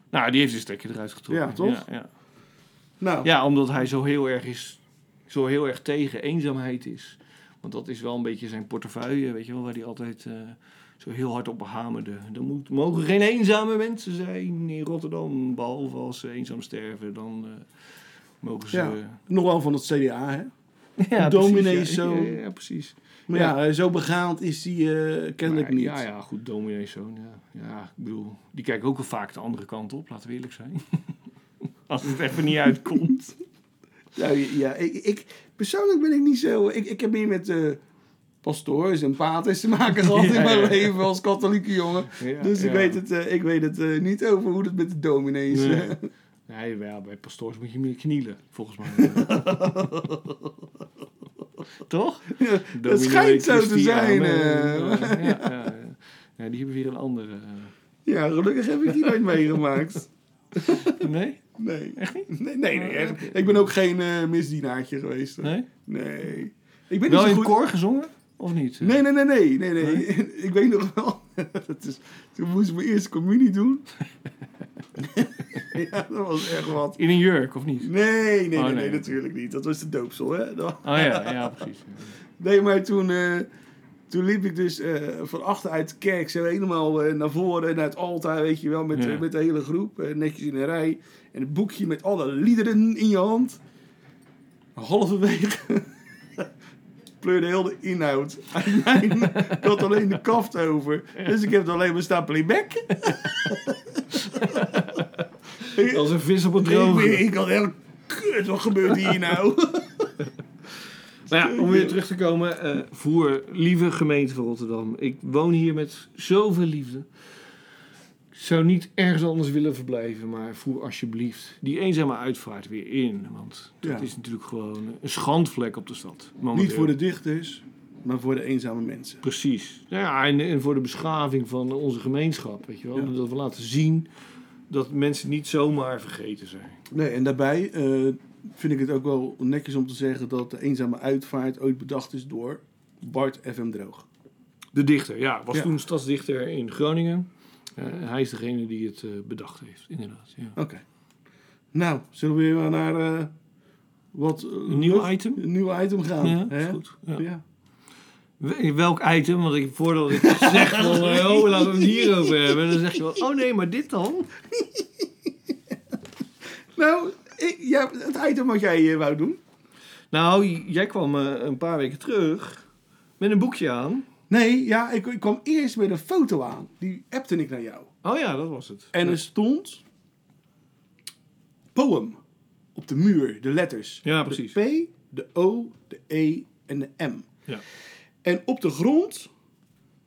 Nou, die heeft een stekje eruit getrokken.
Ja, toch?
Ja, ja.
Nou,
Ja, omdat hij zo heel erg is, zo heel erg tegen eenzaamheid is. Want dat is wel een beetje zijn portefeuille, weet je wel, waar hij altijd eh, zo heel hard op hamerde. Er moet, mogen geen eenzame mensen zijn in Rotterdam, behalve als ze eenzaam sterven, dan eh, mogen ze...
Ja. nog wel van het CDA, hè.
Ja,
Dominee
precies, ja,
zo.
Ja, ja, precies.
Maar ja, eh, zo begaand is die eh, kennelijk
Maar
niet.
Ja, ja, goed, domineeszoon. Ja. ja, ik bedoel, die kijken ook wel vaak de andere kant op, laten we eerlijk zijn. Als het even niet uitkomt.
Nou, ja, ik, ik, persoonlijk ben ik niet zo... Ik, ik heb meer met eh pastoors en paters te maken gehad
Ja,
in mijn
ja.
leven als katholieke jongen.
Ja,
dus ik
ja.
weet het, eh, ik weet het eh, niet over hoe dat met de dominees...
Nee.
eh,
Nee, wel, bij pastoors moet je meer knielen, volgens mij. Toch? Dominee
schijnt zo te
Christiane,
zijn,
eh,
eh.
ja, ja, ja. Ja, die hebben weer een andere. eh.
Ja, gelukkig heb ik die nooit meegemaakt.
Nee?
Nee.
Echt niet? Ah,
Nee, nee, nee echt. Ik ben ook geen eh, misdienaartje geweest. hoor.
Nee?
Nee. Ik ben niet
Wel
zo
in het
goed...
koor gezongen? Of niet?
Nee, nee, nee, nee, nee, nee. Ik weet nog wel. Dat is, toen moest ik mijn eerste communie doen. ja, dat was echt wat.
In een jurk, of niet?
Nee, nee, nee,
Oh,
nee,
nee.
natuurlijk niet. Dat was de doopsel, hè? Dat-
Oh ja, ja, precies.
Nee, maar toen, eh, toen liep ik dus eh, van achteruit de kerk zo helemaal eh, naar voren, naar het altaar, weet je wel, met,
Ja.
eh, met de hele groep, eh, netjes in een rij. En een boekje met alle liederen in je hand. Halverwege pleurde heel de inhoud uit mijn... Ik had alleen de kaft over. Dus ik heb er alleen maar stapel in bek.
Als een vis op het
Ik,
droge.
ik had heel... Kut, wat gebeurt hier nou?
Nou ja, om weer terug te komen. eh, voor lieve gemeente van Rotterdam. Ik woon hier met zoveel liefde. Ik zou niet ergens anders willen verblijven. Maar voer alsjeblieft die eenzame uitvaart weer in. Want dat
Ja.
is natuurlijk gewoon een schandvlek op de stad. momenteel.
Niet voor de dichters, maar voor de eenzame mensen.
Precies. Nou Ja, en, en voor de beschaving van onze gemeenschap. Weet je wel?
Ja.
Dat we laten zien dat mensen niet zomaar vergeten zijn.
Nee, en daarbij eh, vind ik het ook wel netjes om te zeggen dat de eenzame uitvaart ooit bedacht is door Bart FM Droog.
De dichter, ja. Was
Ja.
toen stadsdichter in Groningen. Eh, hij is degene die het eh, bedacht heeft, inderdaad. Ja.
Oké. Nou, zullen we weer maar naar eh, wat eh,
Een nieuw
lucht-
item?
Een nieuw item gaan.
Ja,
hè?
is goed. Ja.
Ja.
We- Welk item? Want ik, voordat ik zeg van, eh, oh, laten we het hierover hebben. Dan zeg je wel, oh nee, maar dit dan?
Nou, ik, ja, het item wat jij eh, wou doen.
Nou, j- jij kwam eh, een paar weken terug met een boekje aan.
Nee, ja, ik, ik kwam eerst met een foto aan. Die appte ik naar jou.
Oh ja, dat was het.
En er stond poem op de muur, de letters.
Ja, precies.
De P, de O, de E en de M.
Ja.
En op de grond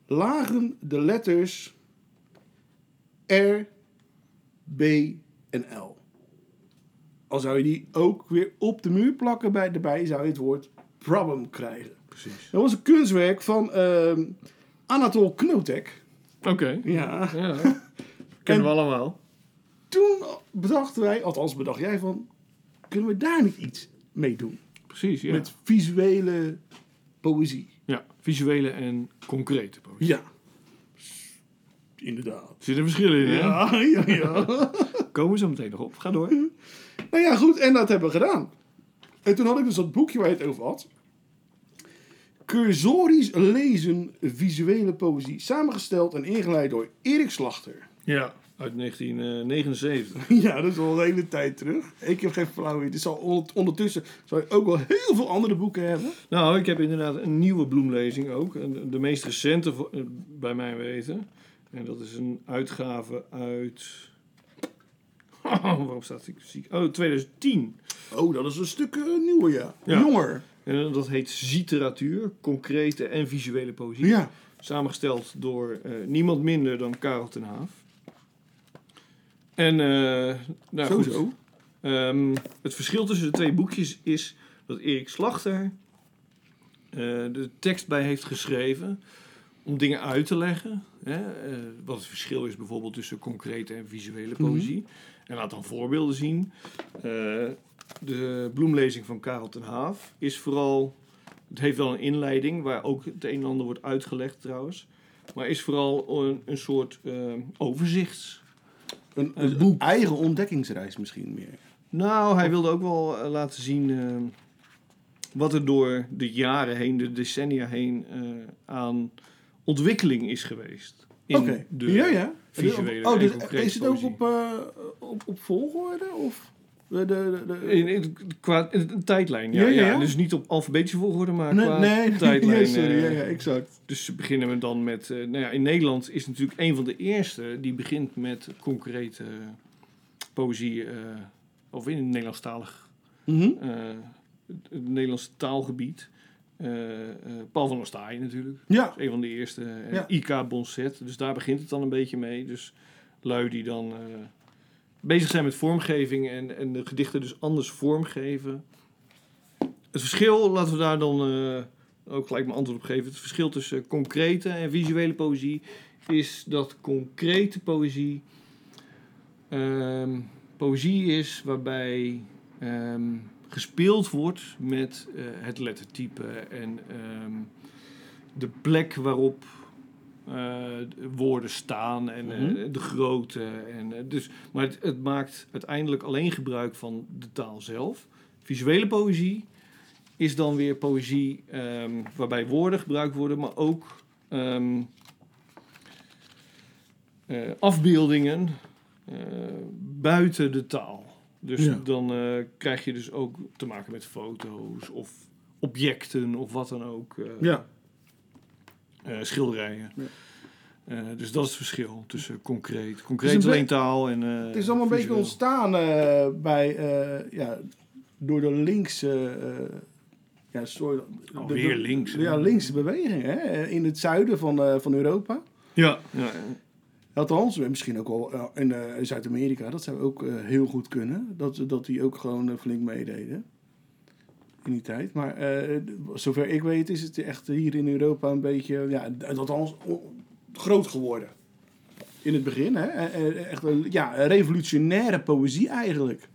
lagen de letters R, B en L. Al zou je die ook weer op de muur plakken, bij, daarbij zou je het woord problem krijgen.
Precies.
Dat was een kunstwerk van ehm Anatol Knotek.
Oké.
Ja.
Ja. Kennen we allemaal.
Toen bedachten wij, althans bedacht jij van... Kunnen we daar niet iets mee doen?
Precies, ja.
Met visuele poëzie.
ja. Visuele en concrete poëzie.
Ja. Inderdaad.
Er zitten verschillen in, hè?
Ja, ja, ja.
Komen we zo meteen nog op. Ga door.
Nou ja, goed, en dat hebben we gedaan. En toen had ik dus dat boekje waar je het over had. Cursorisch lezen visuele poëzie. Samengesteld en ingeleid door Erik Slachter.
Ja. Uit eh, 1979.
Ja, dat is al een hele tijd terug. Ik heb geen flauw idee. Dit zal on- ondertussen zal je ook wel heel veel andere boeken hebben.
Nou, ik heb inderdaad een nieuwe bloemlezing ook. En De meest recente vo- eh, bij mijn weten. En dat is een uitgave uit... Oh, waarom staat ik ziek? Oh, 2010.
Oh, dat is een stuk eh, nieuwer, ja.
Ja.
Jonger.
En eh, dat heet Ziteratuur, concrete en visuele poëzie.
Ja.
Samengesteld door eh, niemand minder dan Karel ten Haaf. En, eh nou goed.
Sowieso.
Ehm, het verschil tussen de twee boekjes is dat Erik Slachter eh, de tekst bij heeft geschreven om dingen uit te leggen. Hè? eh, wat het verschil is bijvoorbeeld tussen concrete en visuele poëzie. En laat dan voorbeelden zien. Eh, de bloemlezing van Karel ten Haaf is vooral... Het heeft wel een inleiding waar ook het een en ander wordt uitgelegd trouwens. Maar is vooral een, een soort eh, overzichts...
Een, een boek. eigen ontdekkingsreis misschien meer.
Nou, hij wilde ook wel eh, laten zien eh, wat er door de jaren heen, de decennia heen, eh, aan ontwikkeling is geweest. in
Oké.
de
Ja, ja.
visuele
oh,
en
dus
concrete
is het ook
poëzie.
op, eh, op, op volgorde? Of de, de, de, de-
In, in- qua in- in tijdlijn, ja,
Ja,
ja,
ja, ja.
Dus niet op alfabetische volgorde, maar
Nee,
qua
nee, nee,
tijdlijn.
ja, sorry,
eh,
ja, ja, exact.
Dus ze beginnen we dan met... eh, nou ja, in Nederland is natuurlijk een van de eerste... die begint met concrete poëzie... eh, of in het Nederlandstalig eh, het Nederlandse taalgebied. Eh, eh, Paul van Ostaaien natuurlijk.
Ja,
Dat is een van de eerste. eh,
Ja.
IK Bonset. Dus daar begint het dan een beetje mee. Dus lui die dan eh, bezig zijn met vormgeving en, en de gedichten dus anders vormgeven. Het verschil, laten we daar dan eh, ook gelijk mijn antwoord op geven. Het verschil tussen concrete en visuele poëzie is dat concrete poëzie ehm, poëzie is waarbij ehm, gespeeld wordt met eh, het lettertype en ehm, de plek waarop eh, de woorden staan en eh,
Mhm.
de grootte. En, eh, dus, maar het, het maakt uiteindelijk alleen gebruik van de taal zelf. Visuele poëzie is dan weer poëzie ehm, waarbij woorden gebruikt worden, maar ook ehm, eh, afbeeldingen eh, buiten de taal. Dus
Ja.
dan eh, krijg je dus ook te maken met foto's of objecten of wat dan ook. eh,
ja.
eh, schilderijen.
Ja.
Eh, dus dat is het verschil tussen concreet.
Het
Concreet
is een
alleen taal en. eh,
Het is allemaal een beetje
visueel.
ontstaan eh, bij, eh, ja, door de linkse... eh ja, soort, de-
Alweer
de-
links, hè?
Ja, linkse beweging hè? eh, in het zuiden van, eh, van Europa.
Ja, ja, ja.
Althans, eh, misschien ook wel eh, in eh, Zuid-Amerika. Dat zou ook eh, heel goed kunnen. Dat, dat die ook gewoon eh, flink meededen. In die tijd. Maar eh, d- zover ik weet is het echt hier in Europa een beetje... Ja, d- althans, o- groot geworden. In het begin, hè. Eh, eh, Echt een ja, een revolutionaire poëzie eigenlijk.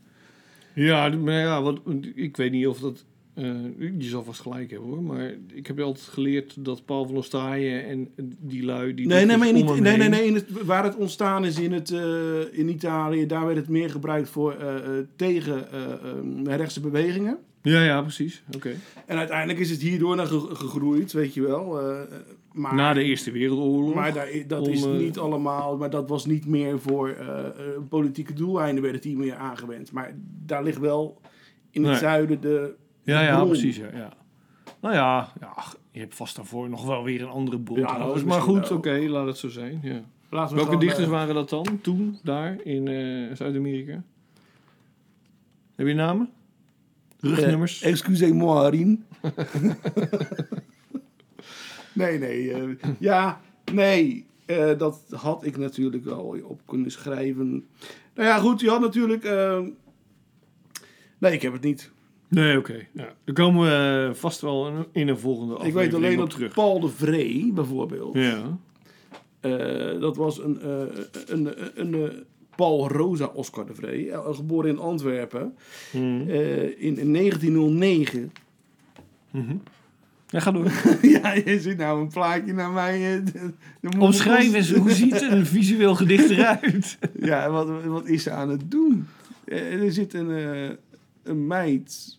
Ja, d- maar ja, wat, ik weet niet of dat... eh, je zal vast gelijk hebben hoor, maar ik heb altijd geleerd dat Paul van Ostaaien en die lui... Die dus
Nee, nee, maar
niet.
niet, nee, nee, nee. In het, waar het ontstaan is in, het, eh, in Italië... daar werd het meer gebruikt voor, eh, eh, tegen eh, eh, rechtse bewegingen.
Ja, ja, precies. Oké.
En uiteindelijk is het hierdoor naar ge- gegroeid, weet je wel. eh, maar
Na de Eerste Wereldoorlog.
maar daar i- dat
om,
is
eh,
niet allemaal, maar dat was niet meer voor eh, eh, politieke doeleinden, werd het hier meer aangewend. Maar daar ligt wel in het
Nee.
zuiden de.
ja, ja,
bron.
precies. Ja, ja. Nou ja, ja, ach, je hebt vast daarvoor nog wel weer een andere bron.
Ja, dat
trouwens.
is
maar
misschien
goed, oké,
wel.
laat het zo zijn. Ja.
Laten
Welke
gewoon, eh,
dichters waren dat dan, toen, daar in eh, Zuid-Amerika? Heb je namen? Rugnummers?
eh, Excusez-moi, Rien. nee, nee. eh, ja, nee. eh, dat had ik natuurlijk wel op kunnen schrijven. Nou ja, goed, je had natuurlijk. eh, Nee, ik heb het niet.
Nee, oké. Ja. Daar komen we eh, vast wel in- in een volgende
Ik
aflevering
weet alleen
op
dat
terug.
Paul de Vree bijvoorbeeld.
Ja.
Eh, dat was een, eh, een, een, eh, Paul Rosa Oscar de Vree, eh, geboren in Antwerpen eh, in, in 1909.
Ja, ga door.
ja, je ziet nou een plaatje naar mij. eh, de- de
Omschrijf
moeders.
eens, hoe ziet een visueel gedicht eruit?
Ja, wat, wat is ze aan het doen? Eh, er zit een, eh, een meid,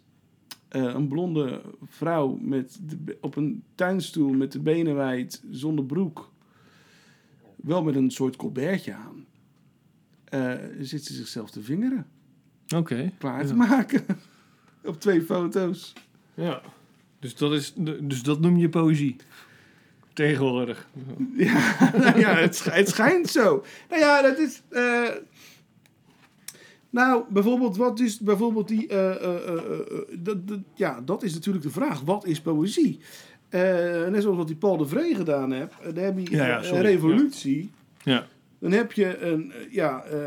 eh, een blonde vrouw met de be- op een tuinstoel met de benen wijd, zonder broek. Wel met een soort colbertje aan. Eh, zit ze zichzelf te vingeren,
Oké.
klaar te maken. op twee foto's.
Ja. Dus dat, is, dus dat noem je poëzie. Tegenwoordig.
Ja, nou ja het, sch- het schijnt zo. Nou ja, dat is. eh, nou, bijvoorbeeld, wat is bijvoorbeeld die. eh, eh, eh, eh, dat- dat- ja, dat is natuurlijk de vraag. Wat is poëzie? Eh, net zoals wat die Paul de Vree gedaan heeft. eh, Dan heb je
Ja, ja,
eh,
sorry.
revolutie.
Ja.
Dan heb je een, eh, ja, eh,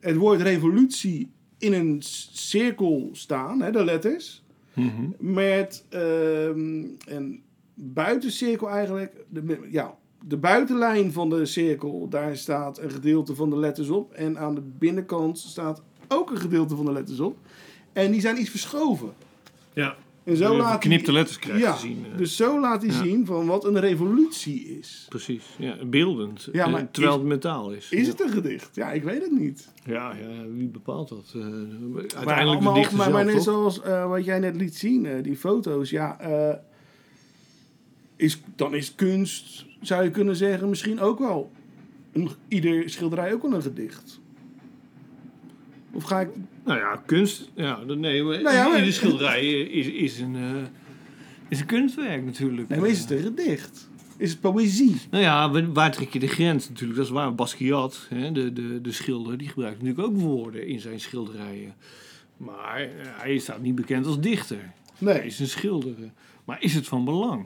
het woord revolutie in een s- cirkel staan, hè, de letters.
Mhm.
Met ehm, een buitencirkel eigenlijk. De, me- ja, de buitenlijn van de cirkel, daar staat een gedeelte van de letters op. En aan de binnenkant staat ook een gedeelte van de letters op. En die zijn iets verschoven.
Ja.
En zo laat hij-
knipte letters krijgt
ja,
te zien. eh,
Dus zo laat hij
Ja.
zien van wat een revolutie is.
Precies. Ja, beeldend.
Ja,
Eh,
maar
terwijl
is-
het metaal is.
Is het een gedicht? Ja, ik weet het niet.
Ja, ja, wie bepaalt dat? Eh,
Maar
uiteindelijk de
allemaal-
dichter
Maar, maar net
zelf, toch?
zoals eh, wat jij net liet zien, eh, die foto's, ja, eh, is, dan is kunst, zou je kunnen zeggen, misschien ook wel een, ieder schilderij ook wel een gedicht. Of ga ik...
Nou ja, kunst. Ja, dat- nee, maar
Nou ja, maar-
iedere schilderij eh, is, is, een, eh, is een kunstwerk natuurlijk.
Nee, maar is het een gedicht? Is het poëzie?
Nou ja, wa- waar trek je de grens natuurlijk? Dat is waar. Basquiat, hè, de, de, de schilder, die gebruikt natuurlijk ook woorden in zijn schilderijen. Maar eh, hij staat niet bekend als dichter. Hij
Nee.
is een schilder. eh. Maar is het van belang?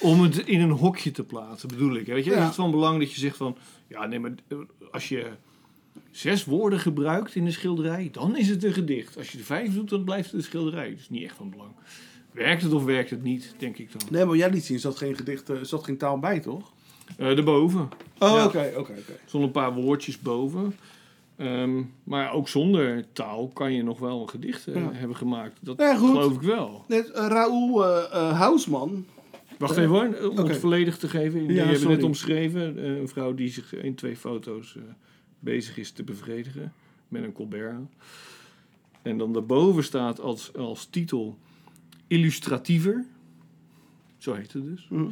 Om het in een hokje te plaatsen, bedoel ik. hè. Weet je,
Ja.
Is het van belang dat je zegt van... Ja, nee, maar eh, als je zes woorden gebruikt in een schilderij... dan is het een gedicht. Als je er vijf doet, dan blijft het een schilderij. Dat is niet echt van belang. Werkt het of werkt het niet, denk ik dan.
Nee, maar jij liet zien, er zat geen gedicht, eh, er zat geen taal bij, toch?
Eh daarboven.
Oh,
Ja.
oké, oké, oké.
Zonder een paar woordjes boven. Ehm, maar ook zonder taal kan je nog wel een gedicht eh,
Ja.
hebben gemaakt. Dat
Ja, goed.
geloof ik wel.
Net eh, Raoul eh, eh, Housman.
Wacht even hoor, om
Oké.
het volledig te geven. Jullie
Ja,
hebben
sorry.
net omschreven. eh, een vrouw die zich in twee foto's eh, bezig is te bevredigen. Met een colbert. En dan daarboven staat als, als titel illustratiever. Zo heet het dus.
Mhm.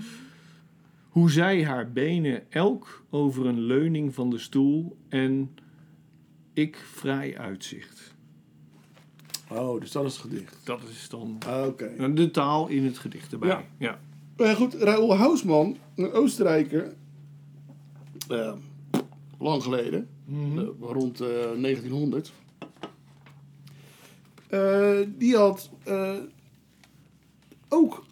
Hoe zij haar benen elk over een leuning van de stoel en ik vrij uitzicht.
Oh, dus dat is het gedicht.
Dat is dan
Ah, Oké.
de taal in het gedicht erbij.
Nou Ja.
ja.
Maar goed, Raoul Hausman, een Oostenrijker, eh, lang geleden, eh, rond eh, 1900, eh, die had eh, ook,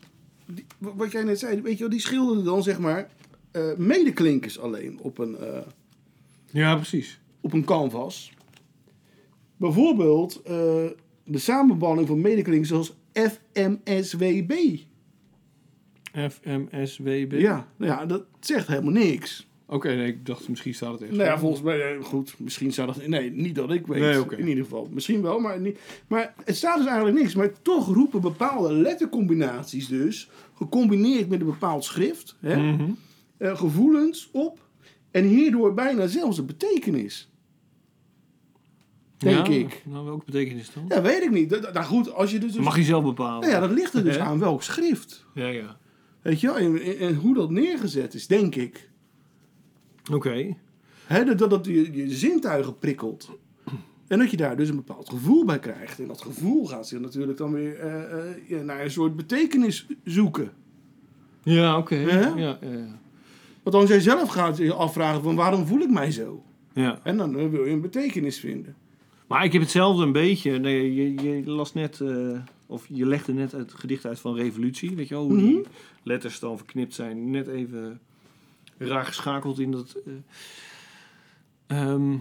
die- wa- wat jij net zei, weet je wel, die schilderde dan zeg maar eh, medeklinkers alleen op een, eh,
ja precies.
op een canvas. Bijvoorbeeld eh, de samenbanning van medeklinkers zoals FMSWB.
FMSWB?
Ja, nou ja, dat zegt helemaal niks.
Oké, nee, ik dacht misschien staat het echt.
Nou ja, volgens mij, eh, goed, misschien zou dat... Nee, niet dat ik weet,
Nee, oké.
in ieder geval. Misschien wel, maar niet... Maar het staat dus eigenlijk niks. Maar toch roepen bepaalde lettercombinaties dus... gecombineerd met een bepaald schrift... Hè,
Mhm.
eh, gevoelens op... en hierdoor bijna zelfs een betekenis. Denk
Ja,
ik.
Nou, welke betekenis dan?
Ja, weet ik niet. Dat- dat- Nou goed, als je dus... dus
Mag je zelf bepalen.
nou ja, dat ligt er dus
Hè?
aan welk schrift.
Ja, ja.
Weet je wel? En, en- en hoe dat neergezet is, denk ik.
Oké.
Hè, dat, dat, dat je, je zintuigen prikkelt. En dat je daar dus een bepaald gevoel bij krijgt. En dat gevoel gaat zich natuurlijk dan weer eh, eh, ja, naar een soort betekenis zoeken.
Ja, oké.
Hè?
Ja, ja, ja.
Want als jij zelf gaat je afvragen van waarom voel ik mij zo?
Ja.
En dan eh, wil je een betekenis vinden.
Maar ik heb hetzelfde een beetje. Nee, je, je las net, eh, of je legde net het gedicht uit van Revolutie. Weet je wel, hoe
Mhm.
die letters dan verknipt zijn. Net even raar geschakeld in dat... eh. Ehm,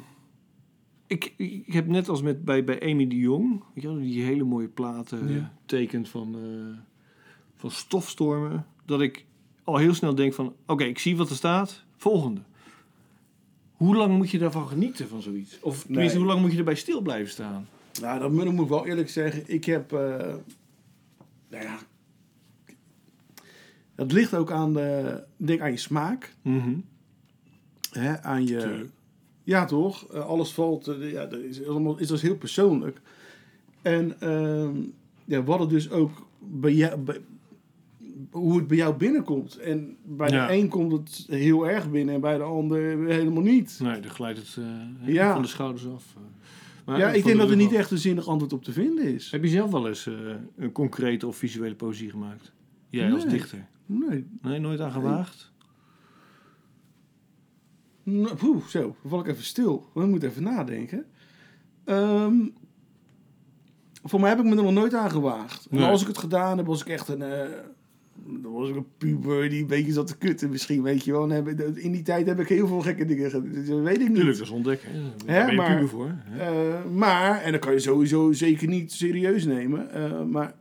ik, ik heb net als met, bij, bij Amy de Jong, weet je wel, die hele mooie platen eh,
Ja.
tekent van, eh, van stofstormen. Dat ik al heel snel denk van, oké, ik zie wat er staat. Volgende. Hoe lang moet je daarvan genieten van zoiets? Of tenminste,
Nee.
hoe lang moet je erbij stil blijven staan?
Nou, dat moet moet ik wel eerlijk zeggen. Ik heb. eh, nou ja. Het ligt ook aan, de, ik denk aan je smaak. Hè, aan je.
Tuurlijk.
Ja, toch? Eh, alles valt. eh, ja, dat is, allemaal, is dat heel persoonlijk. En ehm ja, wat het dus ook bij jou. bij- hoe het bij jou binnenkomt. En bij
Ja.
de een komt het heel erg binnen en bij de ander helemaal niet.
Nee, dan glijdt het eh,
Ja.
van de schouders af. eh. Maar-
Ja,
of van de
ik denk dat er
rug af.
niet echt een zinnig antwoord op te vinden is.
Heb je zelf wel eens eh, een concrete of visuele poëzie gemaakt? Jij als
Nee.
dichter?
Nee,
Nee, nooit aan gewaagd?
Nou, poeh, zo, dan val ik even stil. We moeten even nadenken. Ehm, voor mij heb ik me er nog nooit aan gewaagd.
Nee.
Maar als ik het gedaan heb, was ik echt een... eh, dan was ik een puber die een beetje zat te kutten misschien, weet je wel. En heb ik- In die tijd heb ik heel veel gekke dingen gedaan. dus Dat weet ik niet.
Tuurlijk, dat is ontdekken. hè. Daar ben je
maar-
puber voor. hè.
Eh, maar, en dat kan je sowieso zeker niet serieus nemen. eh, maar,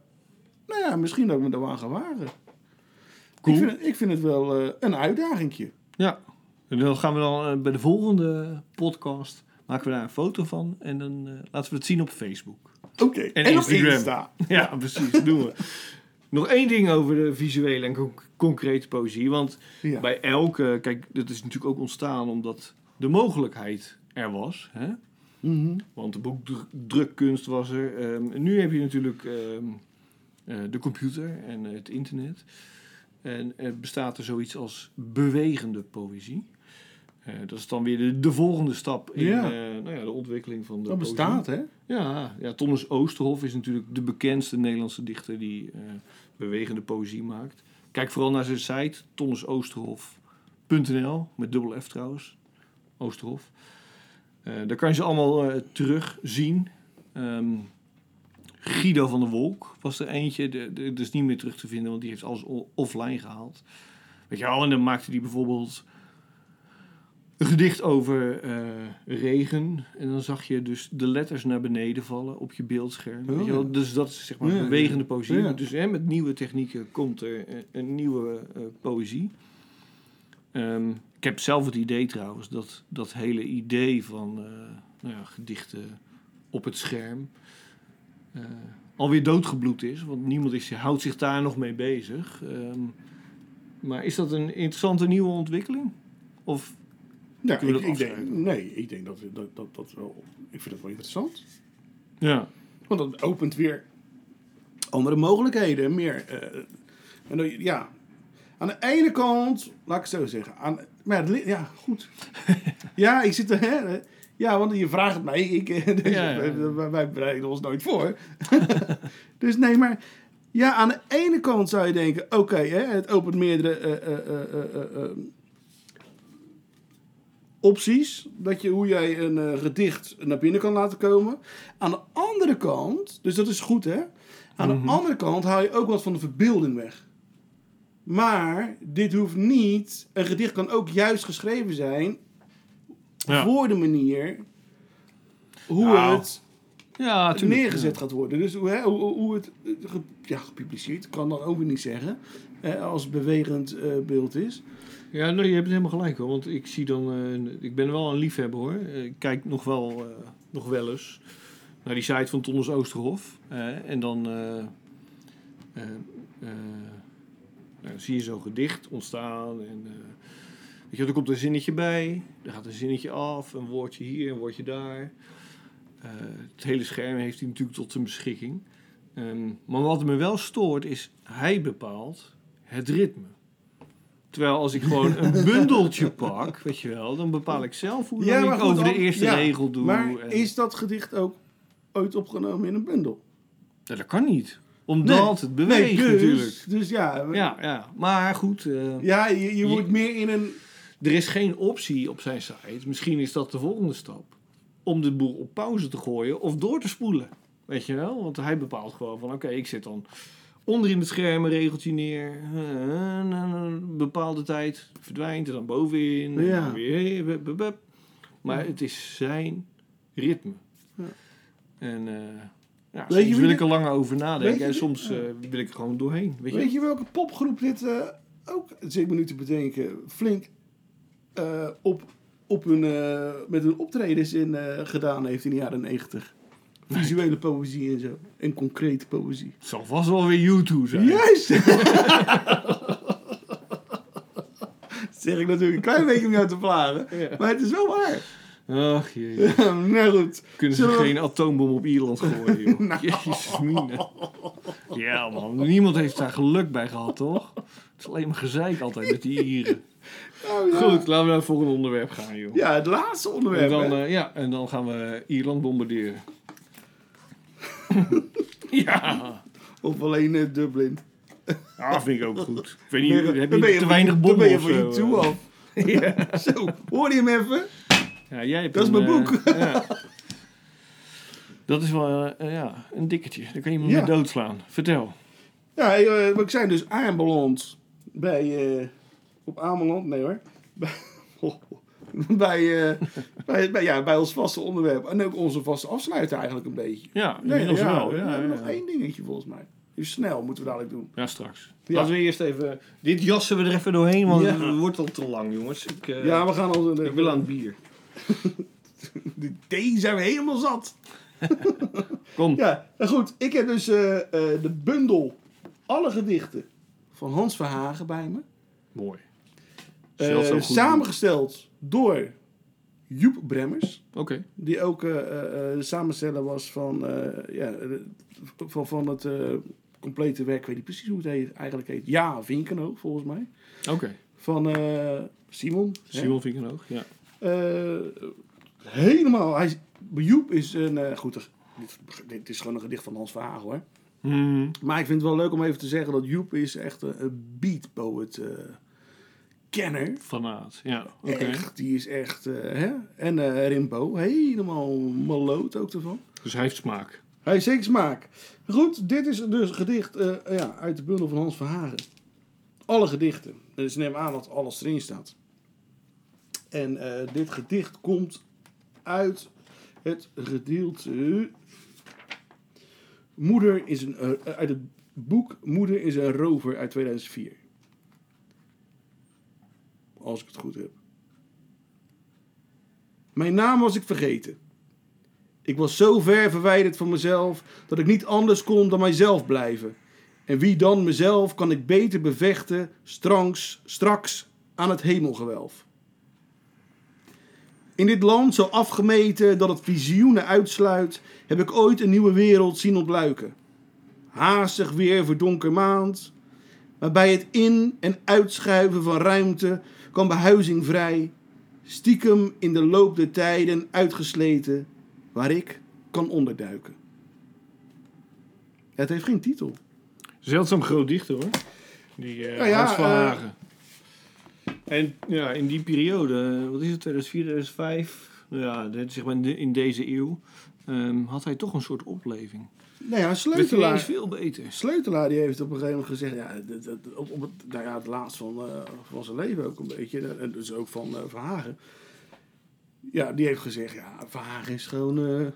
nou ja, misschien dat ik me er wel aan ga wagen.
Cool.
Ik, vind het, ik vind het wel eh, een uitdagingje.
Ja. En dan gaan we dan eh, bij de volgende podcast... maken we daar een foto van... en dan eh, laten we het zien op Facebook.
Oké,
En
en, op
Instagram.
Insta.
Ja, precies. Dat doen we. Nog één ding over de visuele en conc- concrete poëzie. Want
Ja.
bij elke... Kijk, dat is natuurlijk ook ontstaan omdat de mogelijkheid er was. Hè?
Mhm.
Want de boekdrukkunst was er. Ehm, en nu heb je natuurlijk ehm, eh, de computer en het internet. En er bestaat er zoiets als bewegende poëzie. Eh, dat is dan weer de, de volgende stap in
Ja.
eh, nou ja, de ontwikkeling van de
Dat
poëzie.
bestaat, hè?
Ja, ja, Thomas Oosterhof is natuurlijk de bekendste Nederlandse dichter die eh, bewegende poëzie maakt. Kijk vooral naar zijn site, thomasoosterhof.nl, met dubbel F trouwens, Oosterhof. Eh, daar kan je ze allemaal eh, terugzien. Ehm, Guido van der Wolk was er eentje, de- de- dat is niet meer terug te vinden, want die heeft alles o- offline gehaald. Weet je wel, en dan maakte hij bijvoorbeeld een gedicht over eh, regen. En dan zag je dus de letters naar beneden vallen op je beeldscherm.
Oh,
Weet je wel?
ja. Oh,
Dus dat is zeg maar
Ja, ja.
bewegende poëzie.
Ja.
Dus hè, met nieuwe technieken komt er een, een nieuwe eh, poëzie. Ehm, ik heb zelf het idee trouwens dat dat hele idee van eh, nou ja, gedichten op het scherm eh, alweer doodgebloed is. Want niemand is, houdt zich daar nog mee bezig. Ehm, maar is dat een interessante nieuwe ontwikkeling? Of
Ja,
Kunnen
ik,
we dat
ik denk,
afsluiten?
nee, ik denk dat, dat, dat, dat wel... Ik vind het wel interessant.
ja.
Want dat opent weer andere mogelijkheden. Meer, eh, en dan, ja, aan de ene kant, laat ik het zo zeggen. Aan, maar ja, het li- ja, goed. ja, ik zit er... Hè, ja, want je vraagt het mij. Ik, eh, dus
Ja, ja, ja.
Wij, wij bereiden ons nooit voor. dus nee, maar... Ja, aan de ene kant zou je denken... Oké, hè, het opent meerdere... eh, eh, eh, eh, eh, eh, opties. Dat je hoe jij een eh, gedicht naar binnen kan laten komen. Aan de andere kant, dus dat is goed hè. Aan
Mhm.
de andere kant haal je ook wat van de verbeelding weg. Maar dit hoeft niet. Een gedicht kan ook juist geschreven zijn
Ja.
voor de manier hoe
Nou,
het
Ja, tuurlijk.
neergezet gaat worden. Dus hoe, hè, hoe, hoe het eh, ge- ja, gepubliceerd kan dan ook weer niet zeggen. eh, als het bewegend eh, beeld is.
Ja, nee, je hebt helemaal gelijk hoor. Want ik zie dan. eh, ik ben wel een liefhebber hoor. Eh, Ik kijk nog wel, eh, nog wel eens naar die site van Thomas Oosterhof. eh, en dan. eh, eh, eh, nou, zie je zo'n gedicht ontstaan. En, eh, weet je, wel, er komt een zinnetje bij. Er gaat een zinnetje af. Een woordje hier, een woordje daar. Eh, het hele scherm heeft hij natuurlijk tot zijn beschikking. Ehm, maar wat me wel stoort is. Hij bepaalt het ritme. Terwijl als ik gewoon een bundeltje pak, weet je wel, dan bepaal ik zelf hoe lang ik
goed,
over de
al-
eerste
ja,
regel doe.
Maar
en-
is dat gedicht ook ooit opgenomen in een bundel?
Ja, dat kan niet. Omdat het beweegt
dus,
natuurlijk.
Dus ja, we- ja.
Ja, ja, maar goed, eh,
je, je, wordt meer in een...
er is geen optie op zijn site. Misschien is dat de volgende stap. Om de boel op pauze te gooien of door te spoelen. Weet je wel? Want hij bepaalt gewoon van oké, ik zit dan onder in het scherm een regeltje neer. eh, en een bepaalde tijd verdwijnt en dan bovenin. en
Ja.
dan weer, eh, bup, bup, bup. Maar het is zijn ritme.
Ja.
En eh, ja,
Weet
soms
je wie
wil
dit-
ik er lang over
Weet
nadenken
je
en
wie-
soms eh, wil ik er gewoon doorheen. Weet je?
Weet je welke popgroep dit eh ook, zit ik me nu te bedenken, flink eh, op, op hun, eh, met hun optredens in, eh, gedaan heeft in de jaren negentig. Visuele poëzie en zo. En concrete poëzie.
Het zal vast wel weer U2 zijn.
Juist! zeg ik natuurlijk een klein beetje om jou te plagen.
Ja.
Maar het is wel waar.
Ach jee.
nou goed.
Kunnen ze
Zullen we-
geen atoombom op Ierland gooien, joh.
Nou.
Jezus, mina. Ja, man. Niemand heeft daar geluk bij gehad, toch? Het is alleen maar gezeik altijd met die Ieren.
Oh, ja.
Goed, laten we naar het volgende onderwerp gaan, joh.
Ja, het laatste
En
onderwerp.
dan,
hè.
eh, ja, en dan gaan we Ierland bombarderen. ja.
Of alleen eh, Dublin.
dat vind ik ook goed. Ik weet
Dan
niet,
ben je-
heb
dan ben
je
je
te
van-
weinig
Dan ben
bommen
je
of
van je
zo?
toe
eh?
af. Ja, zo. Hoor je hem even?
Ja, jij hebt
Dat is
een,
mijn
eh, ja. Dat is wel eh, eh, ja, een dikketje. Daar kan je me
Ja.
mee doodslaan. Vertel.
Ja, eh, we zijn dus aanbeland bij... eh, op Ameland? Nee hoor. Bij, bij, eh, bij, bij- ja, bij ons vaste onderwerp. En ook onze vaste afsluiter eigenlijk een beetje.
Ja, inmiddels
ja,
wel.
we
Ja, ja,
hebben
ja.
nog één dingetje volgens mij. Even snel moeten we dadelijk doen.
Ja, straks.
Ja.
Laten we eerst even... Dit jassen we er even doorheen, want
Ja.
het wordt al te lang, jongens. Ik, eh,
Ja, we gaan al...
ik wil aan het bier.
De thee zijn we helemaal zat.
Kom.
Ja, nou goed. Ik heb dus eh, eh, de bundel alle gedichten van Hans Verhagen bij me.
Mooi.
Eh,
Zelfs zo goed
samengesteld door Joep Bremmers.
Oké.
Die ook eh, eh, eh, de samensteller was van, eh, ja, eh, van, van het eh, complete werk. Ik weet niet precies hoe het heet, eigenlijk heet. Ja, Vinkenhoog volgens mij.
Oké.
Van eh, Simon. hè?
Simon Vinkenhoog. Ja.
Eh, helemaal. Hij, is- Joep is een. eh, goed, dat- dit, dit is gewoon een gedicht van Hans Verhagen hoor.
Hmm.
Maar ik vind het wel leuk om even te zeggen dat Joep is echt een, een beat poet eh, kenner.
Fanaat. Ja, oké.
Echt, die is echt. eh, hè? En eh, Rimbo, helemaal maloot ook ervan.
Dus hij heeft smaak.
Hij heeft zeker smaak. Goed, dit is dus een gedicht eh, ja, uit de bundel van Hans Verhagen. Alle gedichten. Dus neem aan dat alles erin staat. En eh, dit gedicht komt uit het gedeelte. Moeder is een. eh, uit het boek Moeder is een rover uit 2004. Als ik het goed heb. Mijn naam was ik vergeten. Ik was zo ver verwijderd van mezelf dat ik niet anders kon dan mijzelf blijven. En wie dan mezelf kan ik beter bevechten strangs, straks aan het hemelgewelf. In dit land zo afgemeten dat het visioenen uitsluit, heb ik ooit een nieuwe wereld zien ontluiken. Haastig weer voor donker maand, maar bij het in- en uitschuiven van ruimte kan behuizing vrij, stiekem in de loop der tijden uitgesleten waar ik kan onderduiken. Het heeft geen titel.
Zeldzaam groot dichter hoor. Die eh
Nou ja,
Hans van
eh,
Hagen. eh, En ja, in die periode, eh, wat is het, 2004, 2005? Nou ja, dat, zeg maar in de- in deze eeuw. ehm, had hij toch een soort opleving.
Nou ja,
Werd hij ineens
Sleutelaar.
veel beter.
Sleutelaar die heeft op een gegeven moment gezegd, ja, dat- dat- op, op het, nou ja, het laatst van, eh, van zijn leven ook een beetje, en dus ook van eh, Verhagen. Ja, die heeft gezegd, ja, Verhagen is gewoon eh,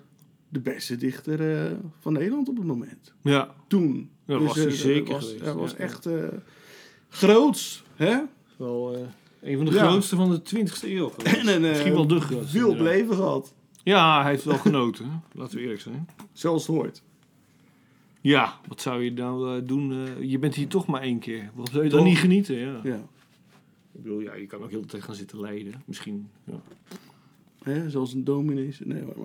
de beste dichter eh, van Nederland op het moment.
Ja,
Toen.
Ja, was
eh,
hij
dat
zeker
was,
geweest,
Dat was
ja.
echt eh, groots, hè?
wel eh, een van de
Ja.
grootste van de 20e eeuw. geweest.
En een, eh,
Misschien wel de grootste.
Veel
inderdaad.
leven gehad,
Ja, hij heeft wel genoten. hè. Laten we eerlijk zijn.
zoals het hoort.
Ja, wat zou je nou eh, doen? eh, je bent hier toch maar één keer. Wat zou je dan
Toch?
niet genieten? Ja.
Ja,
Ik bedoel, ja, je kan ook heel de tijd gaan zitten lijden. Misschien, ja.
hè? zoals een dominee. Nee, hoor,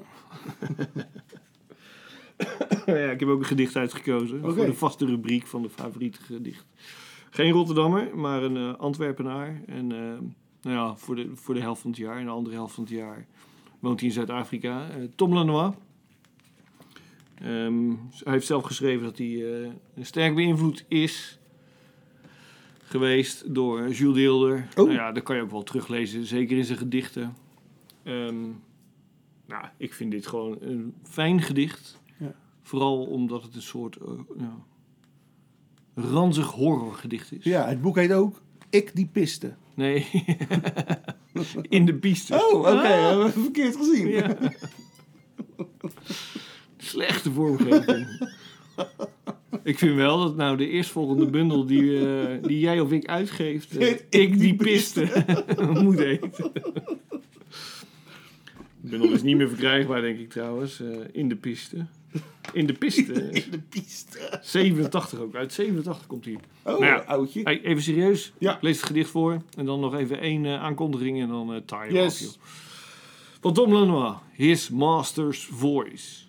maar...
ja, ik heb ook een gedicht uitgekozen.
Oké.
Voor de vaste rubriek van de favoriete gedicht. Geen Rotterdammer, maar een eh, Antwerpenaar. En eh, nou ja, voor de, voor de helft van het jaar en de andere helft van het jaar woont hij in Zuid-Afrika. Eh, Tom Lanois. Ehm, hij heeft zelf geschreven dat hij eh, sterk beïnvloed is geweest door Jules Deelder.
Oh.
Nou ja, dat kan je ook wel teruglezen, zeker in zijn gedichten. Ehm, nou, ik vind dit gewoon een fijn gedicht.
Ja.
Vooral omdat het een soort eh, ja, ranzig horrorgedicht is.
Ja, het boek heet ook Ik die piste.
Nee, in de piste.
Oh,
Ah.
hebben we verkeerd gezien.
Ja. Slechte vormgeving. Ik vind wel dat nou de eerstvolgende bundel die, eh, die jij of ik uitgeeft, eh,
Heet
ik die piste moet eten. De bundel is niet meer verkrijgbaar, denk ik trouwens. eh, in de piste. In de piste.
In de piste.
87 ook. Uit 87 komt hier.
Oh,
Nou ja.
oudje.
Hey, even serieus.
Ja.
Ik Lees het gedicht voor. En dan nog even één eh, aankondiging en dan eh time
Yes.
off, joh. Van Tom Lanois. His Master's Voice.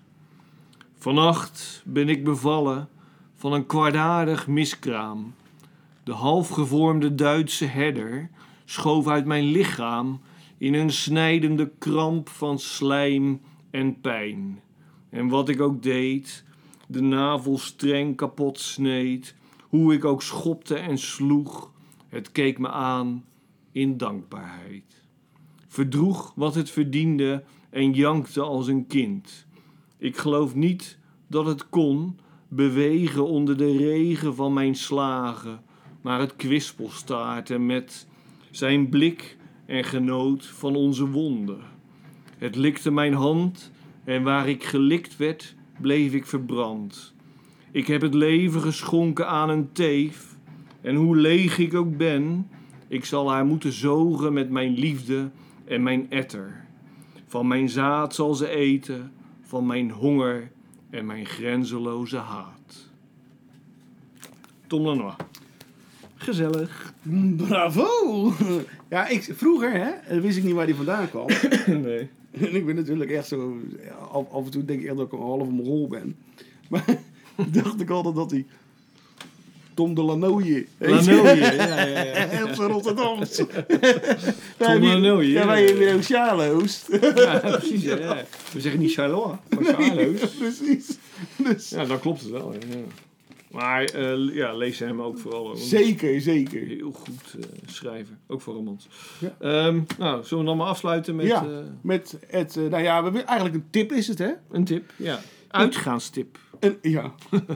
Vannacht ben ik bevallen van een kwaadaardig miskraam. De halfgevormde Duitse herder schoof uit mijn lichaam in een snijdende kramp van slijm en pijn. En wat ik ook deed, de navel streng kapot sneed, hoe ik ook schopte en sloeg, het keek me aan in dankbaarheid. Verdroeg wat het verdiende en jankte als een kind. Ik geloof niet dat het kon bewegen onder de regen van mijn slagen, maar het kwispelstaartte met zijn blik en genoot van onze wonden. Het likte mijn hand en waar ik gelikt werd, bleef ik verbrand. Ik heb het leven geschonken aan een teef. En hoe leeg ik ook ben, ik zal haar moeten zogen met mijn liefde en mijn etter. Van mijn zaad zal ze eten, van mijn honger en mijn grenzeloze haat. Tom Lanois. Gezellig.
Bravo! Ja, ik, vroeger hè, eh, wist ik niet waar die vandaan kwam.
Nee.
En ik ben natuurlijk echt zo... ja, Af, af en toe denk ik echt dat ik een halve rol ben. Maar dacht ik altijd dat hij... Tom de Lanoje.
Lanoje, ja, ja, ja.
Op zijn Rotterdams.
Tom Lanoje,
Ja,
ja.
wij hebben ook Sjalo's.
Ja, precies. ja, ja. We zeggen niet Charlois, maar Charlo's.
Precies. Dus,
Ja, dan klopt het wel. Ja. ja. Maar eh, ja, lees hem ook vooral. want het is
Zeker, zeker.
een Heel goed eh, schrijver, ook voor romans.
Ja.
Ehm, nou, zullen we dan maar afsluiten met
ja,
eh,
met het, eh, nou ja, we hebben- eigenlijk een tip is het, hè?
een tip? Ja. Uitgaanstip.
Een, ja.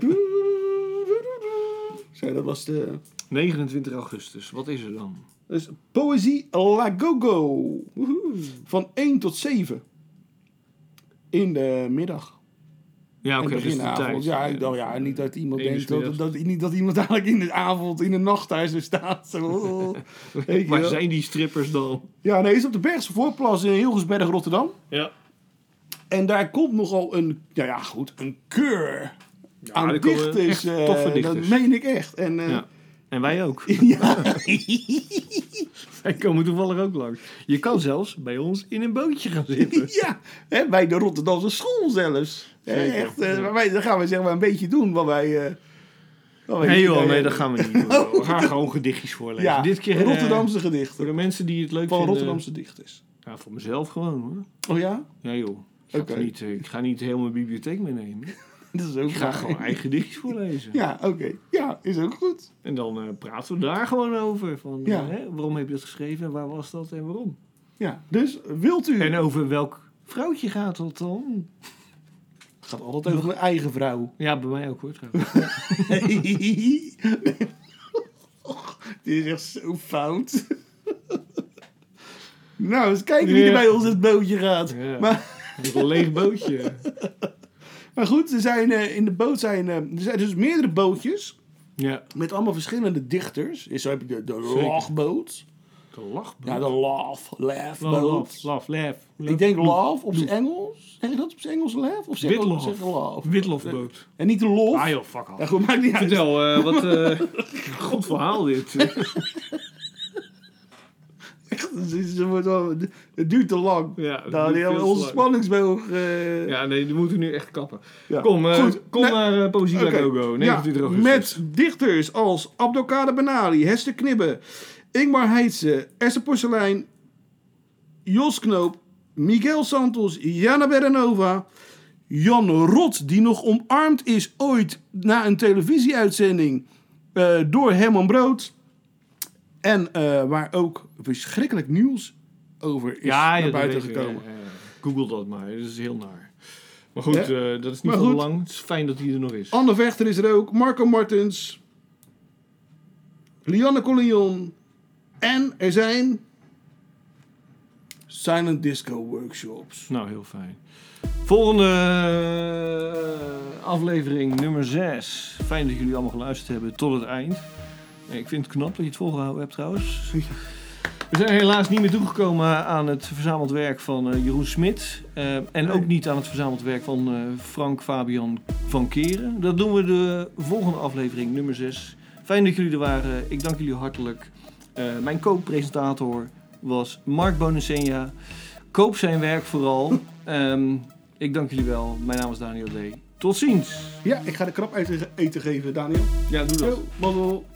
Zo, dat was de...
29 augustus, wat is er dan?
Dus Poëzie La Gogo. Woehoe. Van 1 tot 7. In de middag.
Ja,
en
oké, dus
begin
de
avond.
tijd.
Ja, ik dacht, ja, niet dat iemand
Eén uur
denkt
s middags.
dat, dat, niet dat iemand eigenlijk in de avond, in de nacht daar zo staat. Zo, oh. Weet je
Waar
wel.
zijn die strippers dan?
Ja, nee, is op de Bergse Voorplas in Hilgersberg, Rotterdam.
Ja.
En daar komt nogal een, nou ja, goed, een keur aan
daar komen
dichters.
echt
eh,
toffe
Dat
dichters.
meen ik echt. En, eh,
Ja.
ja.
En wij ook. Wij komen toevallig ook langs. Je kan zelfs bij ons in een bootje gaan zitten.
Ja, hè, bij de Rotterdamse school zelfs. Hè,
Zeker,
Echt, eh,
ja.
maar wij, dan gaan we zeg maar een beetje doen wat wij... eh, wat wij
Nee
niet-
joh,
eh,
nee, dat gaan we niet doen. We gaan gewoon gedichtjes voorlezen.
ja,
Dit keer eh,
Rotterdamse
voor
gedichten.
de mensen die het leuk
Van
vinden.
Rotterdamse dichters.
Ja, voor mezelf gewoon hoor.
Oh ja?
Ja joh. Ik ga,
Oké.
toch niet, eh, ik ga niet heel mijn bibliotheek meenemen.
Dat is ook
Ik ga
waar.
gewoon eigen gedichtjes voorlezen.
Ja, oké. Ja, is ook goed.
En dan eh, praten we daar gewoon over. Van,
Ja.
eh, hè, waarom heb je dat geschreven en waar was dat en waarom?
Ja, dus wilt u...
En over welk vrouwtje gaat dat dan?
het gaat altijd over mijn eigen vrouw.
Ja, bij mij ook hoor trouwens.
Nee. Dit is echt zo fout. Nou, eens kijken wie er
Ja.
bij ons het bootje gaat.
Ja.
Maar,
Het is een leeg bootje.
maar goed, er zijn, eh, in de boot zijn, eh, er zijn dus meerdere bootjes.
Ja,
Met allemaal verschillende dichters. Zo heb je de, de
Zeker.
lachboot.
de lachboot.
Ja, de laugh,
Love,
laughboot.
love, love, laugh,
Ik denk laugh op zijn Engels. Zeg je dat op zijn Engels laugh? Of zeg je
Witlof.
zeg je laugh?
Witlofboot.
En niet de lof.
Ah joh, fuck
Ja,
off.
goed, maakt niet uit.
Vertel, eh, wat... eh goed verhaal dit.
Het is- het wordt wel- Het duurt te lang.
Ja, het
nou,
duurt
die
veel
hebben
te
onze
lang.
spanningsboog. eh,
Ja, nee, die moeten we nu echt kappen.
Ja.
Kom, eh,
Goed,
kom
nee,
naar eh, Poëzie La
oké.
Gogo, 29
Ja,
augustus.
Met dichters als Abdelkader Benali, Hester Knibbe, Ingmar Heitse, Esther Porselein, Jos Knoop, Miguel Santos, Jana Berenova, Jan Rot, die nog omarmd is ooit na een televisieuitzending eh, door Herman Brood. En eh, waar ook verschrikkelijk nieuws over is
ja, ja,
naar
dat
buiten
weet ik,
gekomen.
ja, ja, ja. Google dat maar, dat is heel naar. Maar goed,
Ja.
eh, dat is niet
Maar
van
goed.
belang. Het is fijn dat hij er nog is.
Anne Vechter is er ook. Marco Martens. Lianne Collignon. En er zijn... Silent Disco Workshops.
Nou, heel fijn. Volgende eh, aflevering nummer 6. Fijn dat jullie allemaal geluisterd hebben tot het eind. Eh, Ik vind het knap dat je het volgehouden hebt trouwens. We zijn helaas niet meer toegekomen aan het verzameld werk van eh, Jeroen Smit. eh, en ook niet aan het verzameld werk van eh, Frank Fabian van Keren. Dat doen we de volgende aflevering, nummer 6. Fijn dat jullie er waren. Ik dank jullie hartelijk. Eh, mijn co-presentator was Mark Bonesenia. Koop zijn werk vooral. Ehm, ik dank jullie wel. Mijn naam is Daniel D. Tot ziens.
Ja, ik ga de krap eten, eten geven, Daniel.
Ja, doe
Yo, mazzel.